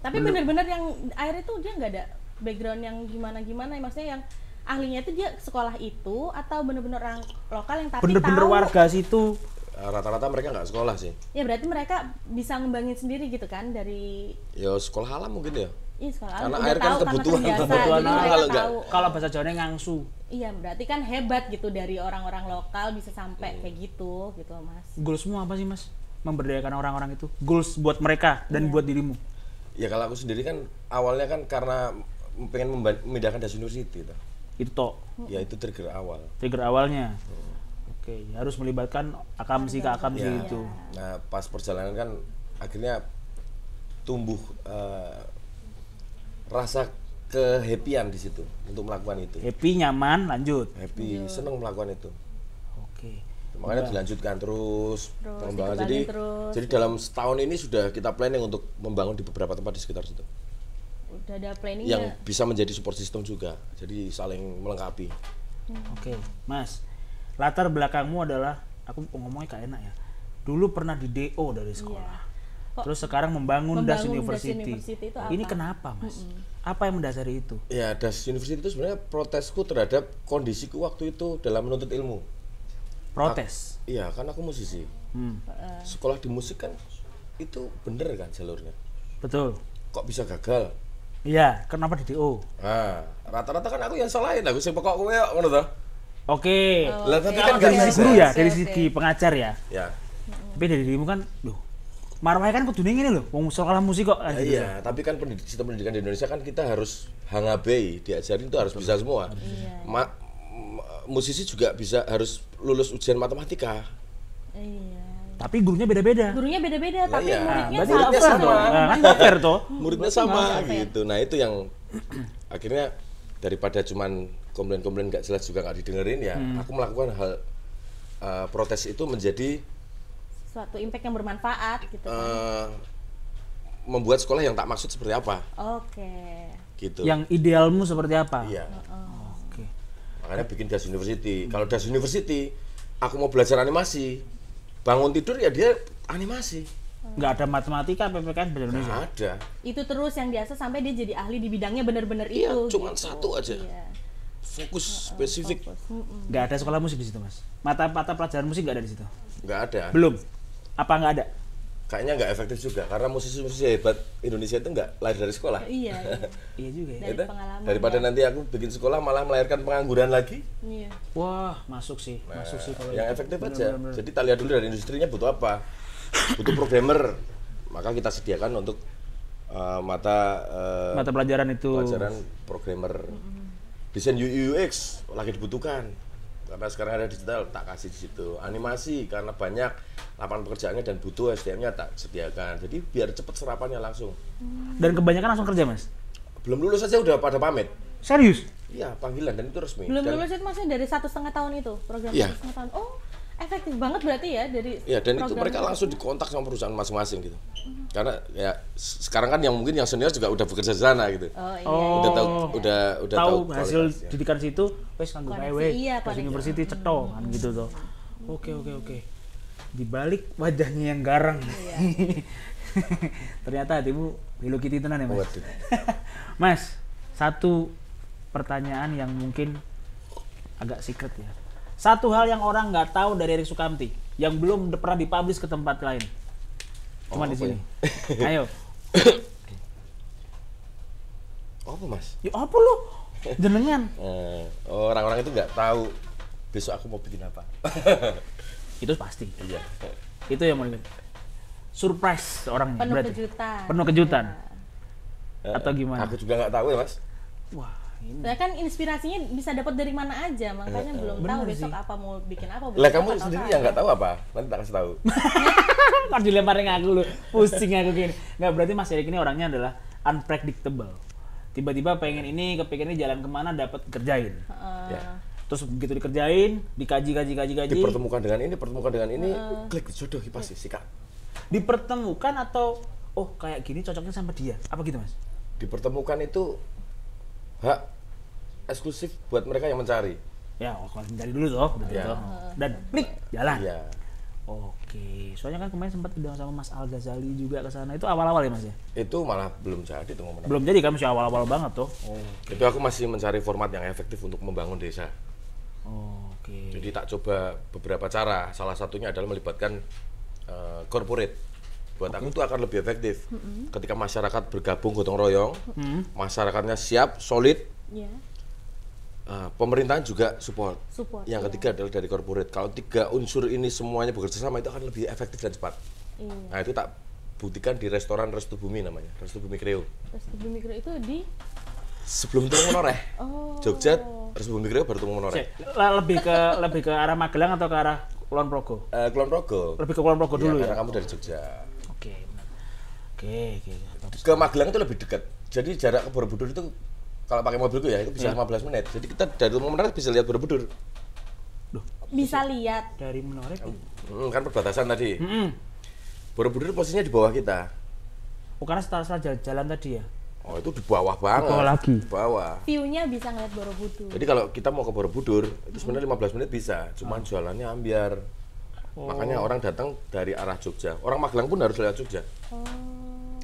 C: Tapi bener-bener yang air itu dia nggak ada background yang gimana-gimana, maksudnya yang ahlinya itu dia sekolah itu atau bener-bener orang lokal yang tapi
B: Bener-bener
C: tahu
B: warga situ.
A: Eh, Rata-rata mereka nggak sekolah sih.
C: ya berarti mereka bisa ngembangin sendiri gitu kan dari
A: Ya sekolah alam mungkin ya.
C: Ih, sekolah alam
A: Karena
C: udah
A: air kan
C: tahu, karena
A: kebutuhan.
C: terbiasa,
A: Kebutuhan
C: jadi
B: alam.
C: mereka
A: Kalau nggak-
C: tahu.
B: Kalau bahasa Jawanya ngangsu.
C: Iya, berarti kan hebat gitu dari orang-orang lokal bisa
A: Iya.
C: sampai kayak gitu gitu, Mas.
B: Goalsmu apa sih mas? Memberdayakan orang-orang itu. Goals buat mereka
C: Iya.
B: dan buat dirimu.
A: Ya kalau aku sendiri kan awalnya kan karena pengen memba- memindahkan das university itu.
B: Itu toh
A: Ya itu trigger awal.
B: trigger awalnya. Oke, harus melibatkan akamsi ke
C: Iya.
B: akamsi
A: Ya.
B: itu.
A: Nah pas perjalanan kan akhirnya tumbuh eh, rasa kehappian di situ untuk melakukan itu.
B: Happy, nyaman, lanjut.
A: Happy, seneng melakukan itu.
B: Oke.
A: Makanya dilanjutkan terus,
C: Iya. Terus,
A: pengembangan. Jadi,
C: dikembangin terus.
A: jadi dalam setahun ini sudah kita planning untuk membangun di beberapa tempat di sekitar situ,
C: Udah ada
A: yang
C: planningnya.
A: bisa menjadi support system juga. Jadi saling melengkapi.
C: Hmm.
B: Oke, Mas. Latar belakangmu adalah aku ngomongnya kayak enak ya. Dulu pernah di DO dari
C: Iya.
B: sekolah.
C: Kok
B: Terus sekarang membangun,
C: membangun
B: Das
C: Das
B: University.
C: University itu
B: Ini
C: apa?
B: kenapa, Mas? Apa yang mendasari itu?
A: Ya, Das University itu sebenarnya protesku terhadap kondisiku waktu itu dalam menuntut ilmu.
B: Protes.
A: Iya, kan aku musisi.
B: Hmm,
C: Iya.
A: Sekolah di musik kan itu bener kan jalurnya.
B: betul.
A: Kok bisa gagal?
B: Iya, kenapa di DO?
A: Nah, rata-rata kan aku yang salahin, aku sih pokok kowe kok ngono toh.
B: Oke.
A: Lah tapi
C: iya.
A: kan
B: Dari
A: gagal.
B: sisi guru ya,
C: Oh. Oke,
B: dari
C: oke. Mm.
B: sisi pengajar ya.
A: Ya.
B: Tapi dari dirimu kan, loh. Marwahnya kan kudu ini loh, mau sekolah musik kok.
A: Ya, iya, tapi kan pendidik, sistem pendidikan di Indonesia kan kita harus hangabei, diajarin itu harus bisa semua. Ma- ma- musisi juga bisa harus lulus ujian matematika.
C: Iya.
B: Tapi gurunya beda-beda.
C: Gurunya beda-beda, tapi
A: iya.
C: muridnya
B: Berarti nggak
C: sama.
B: fair dong. Nah, Kan nggak fair toh.
A: Muridnya sama gitu. Nah, itu yang akhirnya daripada cuman komplain-komplain nggak jelas juga nggak didengerin ya, aku melakukan hal eh, protes itu menjadi
C: Suatu impact yang bermanfaat gitu. kan.
A: eh, membuat sekolah yang tak maksud seperti apa
C: Oke.
A: gitu.
B: Yang idealmu seperti apa?
A: Iya.
B: Oke.
A: Makanya bikin Das University. Kalau Das University, aku mau belajar animasi. Bangun tidur ya dia animasi.
B: Nggak ada matematika PPKN bahasa Indonesia.
A: Nggak ada.
C: Itu terus yang biasa sampai dia jadi ahli di bidangnya benar-benar
A: Iya,
C: itu.
A: cuman
C: gitu.
A: satu aja.
C: Iya.
A: Fokus spesifik.
C: Fokus. Mm-mm.
B: Nggak ada sekolah musik di situ, Mas. Mata-mata pelajaran musik nggak ada di situ.
A: Nggak ada.
B: Belum. Apa nggak ada?
A: Kayaknya nggak efektif juga. Karena musisi-musisi hebat Indonesia itu nggak lahir dari sekolah.
C: Iya. iya.
B: Iya juga ya.
C: Dari
A: Itu,
C: pengalaman
A: daripada
C: ya.
A: nanti aku bikin sekolah malah melahirkan pengangguran lagi.
C: Iya.
B: Wah, masuk sih. Masuk sih kalau
A: Nah, yang
B: itu.
A: efektif
B: Bener,
A: aja.
B: bener, bener.
A: Jadi kita lihat dulu dari industrinya butuh apa. Butuh programmer. Maka kita sediakan untuk eh, mata eh,
B: Mata pelajaran itu.
A: pelajaran programmer desain UI UX lagi dibutuhkan karena sekarang ada digital tak kasih di situ animasi karena banyak lapangan pekerjaannya dan butuh SDM-nya tak sediakan jadi biar cepet serapannya langsung
B: Dan kebanyakan langsung kerja, Mas.
A: belum lulus aja udah pada pamit
B: Serius?
A: iya panggilan dan itu resmi
C: Belum
A: dan,
C: lulus itu maksudnya dari satu setengah tahun itu program
A: Iya.
C: satu setengah tahun. Oh, efektif banget berarti ya dari.
A: ya dan itu
C: program
A: mereka langsung dikontak sama perusahaan masing-masing gitu karena ya se- sekarang kan yang mungkin yang senior juga udah bekerja di sana gitu
C: Oh iya.
B: Oh.
A: udah tahu udah udah tahu,
B: tahu hasil
A: kualitas.
B: didikan situ wes nganggo
C: Koneksi,
B: kae wae
C: iya,
B: pas
C: koneksi.
B: university cetok kan gitu toh oke oke oke di balik wajahnya yang garang ternyata hatimu Hello Kitty tenan ya mas
A: Waduh.
B: mas satu pertanyaan yang mungkin agak secret ya satu hal yang orang nggak tahu dari Erik Sukamti yang belum d- pernah dipublish ke tempat lain cuma
A: Oh,
B: di
A: apa
B: sini ayo
A: apa mas
B: ya apa lu jenengan
A: Eh, orang-orang itu nggak tahu besok aku mau bikin apa.
B: itu pasti
A: Iya.
B: itu yang paling surprise orangnya
C: Penuh
B: berarti
C: kejutan.
B: penuh kejutan atau gimana
A: Iya. Aku juga nggak tahu ya mas.
B: wah ini
C: Nah kan inspirasinya bisa dapat dari mana aja, makanya belum
B: eh.
C: tahu
B: Bener
C: besok
B: sih.
C: apa mau bikin apa.
A: Eh, Lah
C: besok
A: kamu
C: apa,
A: sendiri
C: apa.
A: yang nggak tahu apa? Nanti tak kasih tahu.
B: kan dilemparin aku lu pusing aku gini nggak berarti mas Erik ini orangnya adalah unpredictable tiba-tiba pengen ini kepengen ini jalan kemana dapat kerjain
C: Heeh.
A: ya.
B: terus begitu dikerjain dikaji kaji kaji kaji
A: Dipertemukan dengan ini, pertemukan dengan ini, klik jodoh pasti sikat.
B: dipertemukan atau oh kayak gini cocoknya sama dia apa gitu mas
A: Dipertemukan itu hak eksklusif buat mereka yang mencari.
B: ya oh, kalau mencari dulu toh udah
A: Iya.
B: toh. dan klik jalan
A: Iya.
B: Oke, soalnya kan kemarin sempat diundang sama Mas Al Ghazali juga ke sana. Itu awal-awal ya Mas ya?
A: Itu malah belum jadi tuh momen.
B: Belum jadi kan masih awal-awal banget tuh.
A: Itu aku masih mencari format yang efektif untuk membangun desa.
B: Oke.
A: Jadi tak coba beberapa cara. Salah satunya adalah melibatkan eh, corporate. Buat aku itu akan lebih efektif. Ketika masyarakat bergabung gotong royong,
B: Hmm,
A: masyarakatnya siap, solid,
C: Iya.
A: eh, pemerintahan juga support.
C: Support, iya.
A: Yang ketiga adalah dari corporate. Kalau tiga unsur ini semuanya bekerja sama itu akan lebih efektif dan cepat.
C: Iya.
A: Nah, itu tak buktikan di restoran Restu Bumi namanya, Restu Bumi Kreo.
C: Terus di mikro itu di
A: Sebelum Tumeng Menoreh,
C: oh
A: Jogja, Restu Bumi Kreo baru Tumeng Menoreh.
B: Cek, le- lebih ke lebih ke arah Magelang atau ke arah Kulon Progo?
A: Eh, Kulon Progo.
B: Lebih ke Kulon Progo
A: Iya,
B: dulu
A: karena
B: ya.
A: kamu dari Jogja.
B: Oke, benar. Oke, oke. bagus.
A: ke Magelang itu lebih dekat. Jadi jarak ke Borobudur itu kalau pakai mobilku ya itu bisa 15 menit. Jadi kita dari Tumeng Menoreh bisa lihat Borobudur.
C: bisa lihat
B: Dari Hmm, Menoreh ke
A: Hmm, kan perbatasan tadi.
B: Mm-mm.
A: Borobudur posisinya di bawah kita.
B: Oh, karena setelah setelah jalan, jalan tadi ya.
A: Oh itu di bawah banget.
B: bawah lagi.
A: Di bawah.
C: View-nya bisa ngeliat Borobudur.
A: Jadi kalau kita mau ke Borobudur itu sebenarnya 15 menit bisa, cuman jualannya ambiar. Makanya orang datang dari arah Jogja. Orang Magelang pun harus lewat Jogja
C: Oh,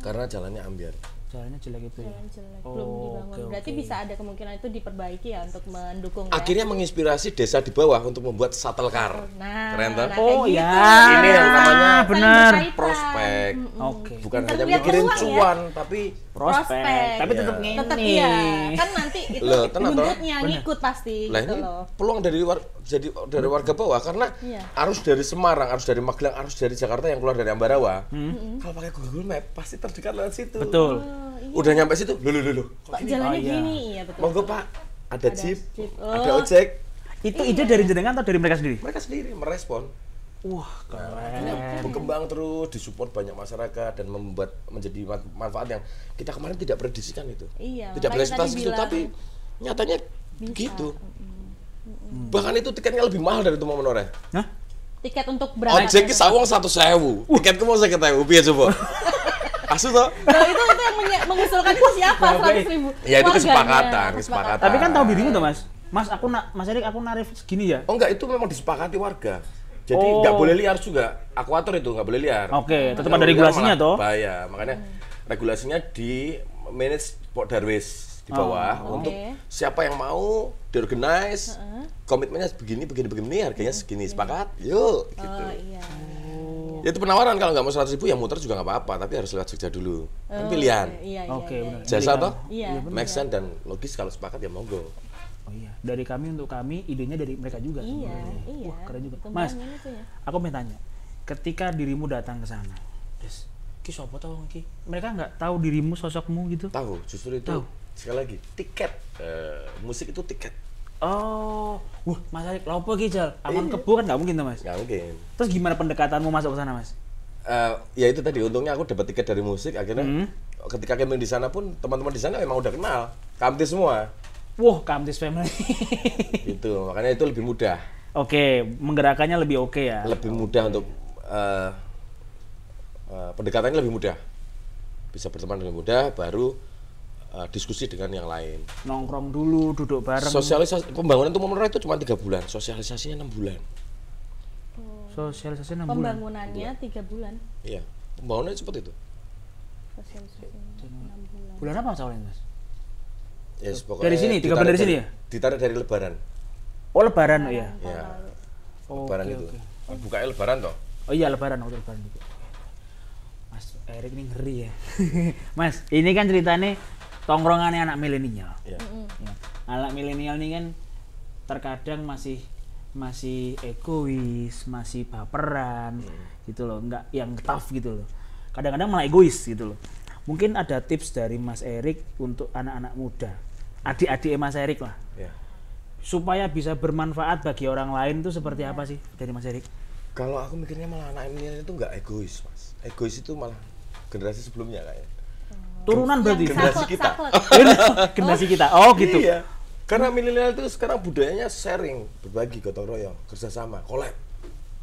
A: karena jalannya ambiar.
B: Jalannya jelek itu ya.
C: jalan jelek.
B: Oh,
C: Belum dibangun.
B: oke,
C: Berarti
B: oke.
C: bisa ada kemungkinan itu diperbaiki ya untuk mendukung. ya?
A: Akhirnya menginspirasi desa di bawah untuk membuat shuttle car.
C: Nah,
A: Keren toh?
C: nah, kayak
B: Oh
C: gitu.
B: ya.
A: Ini yang namanya
C: Saling
B: benar.
C: berkaitan.
A: Prospek.
C: Mm-mm.
B: Oke.
A: Bukan
C: Pintar
A: hanya
C: lihat
A: mikirin
C: peluang ya.
A: cuan, tapi
B: Prospek.
C: Prospek.
B: Tapi
A: Iya.
B: tetap ngene.
C: Tetap iya. Kan nanti itu
A: Loh, tenang, toh?
C: buntutnya ngikut pasti
A: lah
C: gitu
A: ini
C: loh.
A: peluang dari war- jadi dari warga bawah karena
C: Iya.
A: arus dari Semarang, arus dari Magelang, arus dari Jakarta yang keluar dari Ambarawa. Kalau pakai Google Map pasti terdekat lewat situ.
B: Hmm. Betul.
C: Oh, iya.
A: Udah nyampe situ, lu lu lu. lu.
C: Kok
B: Oh,
C: jalannya
B: iya.
C: gini iya betul.
A: Monggo Pak, ada, jeep,
C: jeep.
A: ada
C: Oh.
A: ojek.
B: Itu ide dari jenengan atau dari mereka sendiri?
A: Mereka sendiri merespon.
B: Wah, keren.
A: Akhirnya berkembang terus, disupport banyak masyarakat dan membuat menjadi man- manfaat yang kita kemarin tidak prediksikan itu.
C: Iya,
A: Tidak
C: makanya tadi
A: berekspektasi itu,
C: bilang-
A: tapi nyatanya gitu. Bahkan itu tiketnya lebih mahal dari itu mau menoreh.
B: Hah?
C: Tiket untuk gitu. berangkat.
A: Ojek ki sawang satu sewu, tiketku mau saya ketemu, biar coba. Asu toh?
C: Loh, itu itu yang menye- mengusulkan itu siapa?
B: Babe.
C: 100 ribu.
A: Ya itu
C: Warganya.
A: kesepakatan, kesepakatan.
B: Tapi kan tahu dirinya tuh, Mas. Mas, aku na- Mas Erik, aku narif segini ya.
A: Oh enggak, itu memang disepakati warga. Jadi
B: Oh.
A: nggak boleh liar juga. Akuator itu nggak boleh liar.
B: Oke, tetap
A: Kalau
B: ada
A: liar
B: regulasinya,
A: malah
B: toh? Hmm.
A: Bahaya, makanya regulasinya di manage Pok Darwis di
B: Oh,
A: bawah
C: oke.
A: untuk siapa yang mau diorganize, komitmennya begini begini begini, harganya segini, sepakat, yuk gitu.
C: Oh iya.
B: Oh.
A: Ya itu penawaran kalau nggak mau 100 ribu ya muter juga nggak apa-apa, tapi harus lewat Jogja dulu.
B: Oh,
A: Kan pilihan.
C: Iya, iya.
B: Oke,
C: iya.
B: benar.
A: Jasa
B: Dari
A: toh?
B: kami-
C: Iya.
A: Make sense dan logis kalau sepakat ya monggo.
B: Oh iya, dari kami untuk kami, idenya dari mereka juga.
C: Iya,
B: sebenarnya.
C: iya.
B: Wah, keren juga.
C: Kembangin
B: Mas,
C: itu ya.
B: aku mau tanya. Ketika dirimu datang ke sana, Des, ki sopo tahu ki? Mereka nggak tahu dirimu sosokmu gitu?
A: Tahu, justru itu.
B: Tahu.
A: Sekali lagi, tiket. Eh, musik itu tiket.
B: Oh, wah, Mas Erik, lopo ki jal? Aman kebo kan nggak mungkin tuh, Mas.
A: Nggak mungkin.
B: Terus gimana pendekatanmu masuk ke sana, Mas?
A: Eh, ya itu tadi untungnya aku dapat tiket dari musik akhirnya
B: Hmm.
A: ketika camping di sana pun teman-teman di sana memang udah kenal kamti semua
B: Wah, Kamtis Family.
A: gitu makanya itu lebih mudah
B: oke, menggerakannya lebih oke ya.
A: lebih mudah untuk eh, eh, pendekatannya lebih mudah bisa berteman dengan mudah baru eh, diskusi dengan yang lain
B: Nongkrong dulu, duduk bareng.
A: sosialisasi pembangunan tuh menoreh itu cuma tiga bulan sosialisasinya enam bulan
B: Sosialisasi 6 bulan.
C: Pembangunannya tiga bulan.
A: iya pembangunannya seperti itu
C: Sosialisasi.
B: Bulan apa soalnya, Mas?
A: Yes,
B: Dari sini, tiga bulan dari sini ya?
A: ditarik dari lebaran
B: Oh, lebaran, oh iya.
A: ya
B: Oke,
A: lebaran itu
B: oke.
A: bukanya lebaran toh
B: Oh iya lebaran, waktu lebaran juga. Mas Erik ini ngeri ya. Mas, ini kan ceritanya tongkrongannya anak milenial.
A: Iya.
B: Ya. Anak milenial ini kan terkadang masih masih egois, masih baperan gitu loh, nggak yang tough gitu loh. Kadang-kadang malah egois gitu loh. Mungkin ada tips dari Mas Erik untuk anak-anak muda, adik-adik Mas Erik lah,
A: Iya.
B: supaya bisa bermanfaat bagi orang lain itu seperti apa sih dari Mas Erik?
A: Kalau aku mikirnya malah anak milenial itu nggak egois, mas. Egois itu malah generasi sebelumnya kayaknya.
B: Turunan berarti.
A: Generasi kita.
C: saklek.
B: generasi kita. Oh gitu.
A: Iya. Karena milenial itu sekarang budayanya sharing, berbagi, gotong royong, kerjasama, kolab,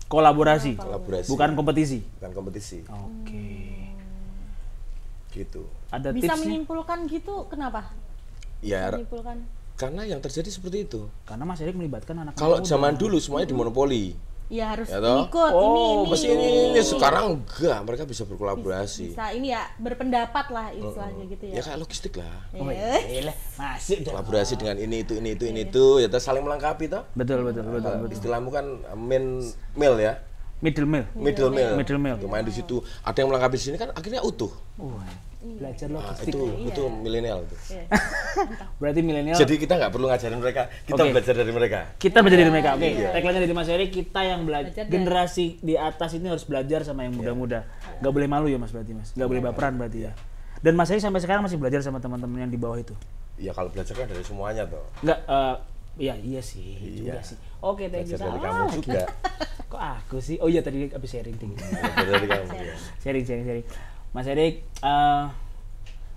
B: Kolaborasi,
A: kolaborasi,
B: bukan kompetisi.
A: bukan kompetisi,
B: Oke.
A: gitu.
B: Ada
C: Bisa
B: tipsnya?
C: menyimpulkan gitu kenapa?
A: Ya,
C: Menyimpulkan.
A: karena yang terjadi seperti itu.
B: Karena Mas Erik melibatkan anak
A: Kalau zaman dulu semuanya dimonopoli.
C: Ya harus
A: Ya toh?
C: ikut ini
B: Oh,
C: ini.
A: Mesti ini, ini, sekarang enggak, mereka bisa berkolaborasi.
C: Bisa ini ya berpendapat lah istilahnya gitu ya.
A: Ya kayak logistik lah.
B: Oh,
C: Iya.
B: iya. Masih dah.
A: Kolaborasi dengan ini itu ini itu ini itu, ya toh saling melengkapi toh.
B: Betul, betul,
A: Eh,
B: betul.
A: Istilahmu kan eh, min mil ya.
B: Middle meal.
C: Iya.
A: middle meal.
B: Middle meal.
A: Lumayan di situ. Ada yang melengkapi di sini kan akhirnya utuh.
B: Wah, belajar
A: Nah,
B: logistik.
A: itu itu milenial itu.
B: Berarti milenial.
A: Jadi kita nggak perlu ngajarin mereka, kita
B: Ya. Oke.
A: belajar dari mereka.
B: kita belajar dari mereka. Oke. Tagline-nya dari Mas Erik, kita yang belajar
C: Belajar dari-
B: generasi di atas ini harus belajar sama yang muda-muda. Nggak boleh malu ya Mas berarti Mas. Nggak boleh baperan berarti ya. Dan Mas Erik sampai sekarang masih belajar sama teman-teman yang di bawah itu.
A: Ya kalau belajar kan dari semuanya toh.
B: Enggak, eh ya iya sih, juga sih. Oke, thank you.
A: Belajar dari
B: Ah,
A: kamu juga.
B: Kok aku sih? Oh iya tadi habis sharing ting.
A: Belajar dari kamu. ya.
B: sharing, sharing, sharing. Mas Erik, eh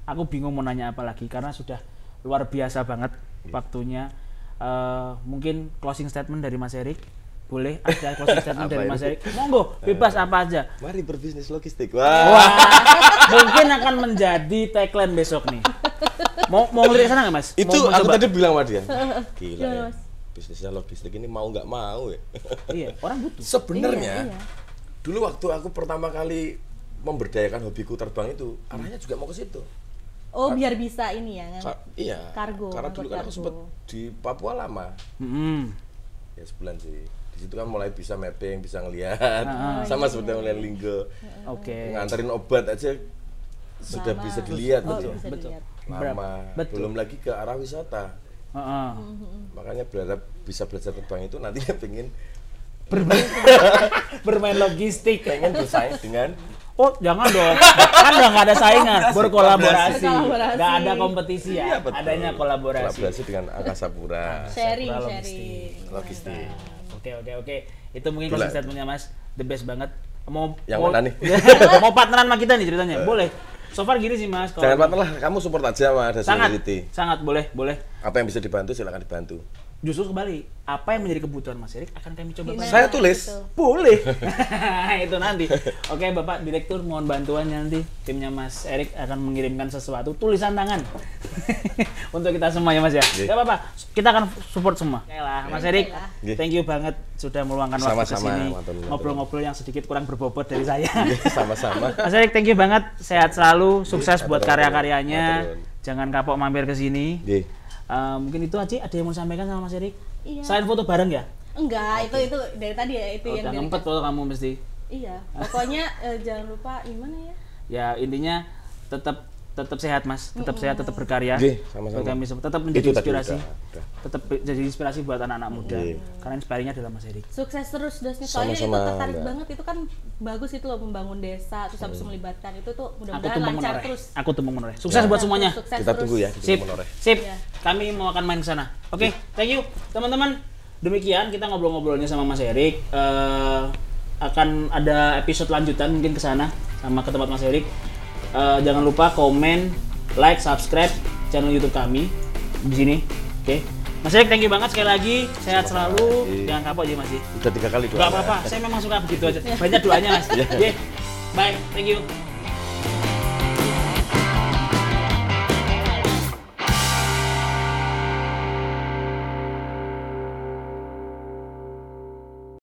B: aku bingung mau nanya apa lagi karena sudah luar biasa banget
A: Iya.
B: waktunya. Eh mungkin closing statement dari Mas Erik. Boleh ada closing statement
A: Apa
B: dari
A: ini?
B: Mas Erik. Monggo, bebas apa aja.
A: Mari berbisnis logistik. Wah.
B: Wah, mungkin akan menjadi tagline besok nih. mau mau ngelirik sana nggak mas?
A: itu
B: mau, mau
A: aku
B: coba?
A: tadi bilang sama dia gila
C: Gimana,
A: ya
C: Iya, Mas?
A: bisnisnya logistik ini mau nggak mau ya
B: Iya, orang butuh.
A: sebenarnya
C: Iya, iya.
A: dulu waktu aku pertama kali memberdayakan hobiku terbang itu arahnya juga mau ke situ
C: Oh biar bisa ini ya ngangkat.
A: Ka- iya
C: Kargo,
A: karena
C: angkut
A: dulu kan aku
C: kargo.
A: sempet di Papua lama
B: Mm-mm.
A: ya sebulan sih di situ kan mulai bisa mapping bisa ngelihat
C: Ah, iya.
A: sama seperti ngeliat linggo
B: Oke.
A: nganterin obat aja sudah
C: Lama.
A: bisa dilihat
C: Oh,
A: gitu
C: bisa
B: Betul.
C: dilihat.
B: Berapa?
A: lama
B: Betul.
A: belum lagi ke arah wisata
B: Heeh.
A: makanya berharap bisa belajar terbang itu nantinya pengen
B: Bermain, bermain logistik.
A: pengen bersaing dengan
B: Oh jangan dong, kan udah nggak ada saingan, berkolaborasi,
C: Berkolaborasi.
B: nggak ada kompetisi ya,
A: Iya, betul.
B: adanya kolaborasi.
A: kolaborasi dengan angkasa pura
C: Sharing,
B: Sakral
C: sharing.
A: logistik
B: Oke oke oke, itu mungkin
A: Itulah.
B: closing statementnya mas, the best banget. Mau
A: Yang
B: mau,
A: mana nih? Eh.
B: mau partneran sama kita nih ceritanya, boleh. So far gini sih mas,
A: jangan
B: kalau
A: patah lah kamu support aja sama ada
B: sangat
A: seniority
B: sangat boleh boleh.
A: apa yang bisa dibantu silakan dibantu
B: Justru kembali, apa yang menjadi kebutuhan Mas Erik akan kami coba bantu.
A: saya tulis
C: gitu.
A: boleh
B: itu nanti. Oke Bapak Direktur mohon bantuannya nanti timnya Mas Erik akan mengirimkan sesuatu tulisan tangan untuk kita semua ya Mas ya.
A: Oke.
B: Gak apa-apa, kita akan support semua. Oke lah Mas Erik,
A: Oke.
B: thank you banget sudah meluangkan waktu ke
A: Sama-sama, Iya.
B: sini
A: Matur Nuwun.
B: ngobrol-ngobrol yang sedikit kurang berbobot dari saya.
A: sama-sama
B: Mas Erik thank you banget, sehat selalu, sukses
A: Matur
B: buat
A: Nuwun.
B: karya-karyanya.
A: Matur Nuwun.
B: Jangan kapok mampir ke sini.
A: Nggih.
B: Eh, mungkin itu aja ada yang mau sampaikan sama Mas Erik?
C: Iya.
B: Selain foto bareng ya?
C: Enggak, itu itu dari tadi ya itu
B: Oh,
C: yang
B: udah
C: dari-
B: ngempet foto kamu mesti.
C: Iya, pokoknya eh, jangan lupa gimana ya?
B: Ya intinya tetap tetap sehat mas, tetap sehat, tetap berkarya.
A: Nggih, sama-sama.
B: Buat kami semua. tetap menjadi
A: Itu tadi
B: inspirasi,
A: udah, udah. Iya.
B: tetap be- jadi inspirasi buat anak-anak muda.
A: Nggih.
B: Karena inspirasinya adalah Mas Erik.
C: Sukses terus dosnya soalnya itu
A: Sama-sama,
C: tertarik
A: Mbak.
C: banget itu kan bagus itu loh membangun desa terus
A: Hmm.
C: habis melibatkan itu tuh
B: Aku
C: mudah-mudahan
B: tumpeng
C: lancar
B: menoreh.
C: terus.
B: Aku tumpeng
A: Ya.
B: menoreh. Sukses buat semuanya.
C: Sukses
A: kita
C: terus.
A: tunggu ya kita
B: Sip,
A: menoreh
B: sip.
C: Iya.
B: Kami mau akan main ke sana. Oke,
A: Iya.
B: thank you teman-teman. Demikian kita ngobrol-ngobrolnya sama Mas Erik. Eh, akan ada episode lanjutan mungkin ke sana sama ke tempat Mas Erik. Eh, jangan lupa komen, like, subscribe channel YouTube kami di sini. Oke. Mas Erik, thank you banget sekali lagi. Sehat selalu.
A: Iya.
B: Jangan kapok aja Mas.
A: udah tiga kali
B: Gak
A: doa Iya.
B: apa-apa, saya memang suka begitu aja. Banyak doanya Mas. Oke. Bye, thank you.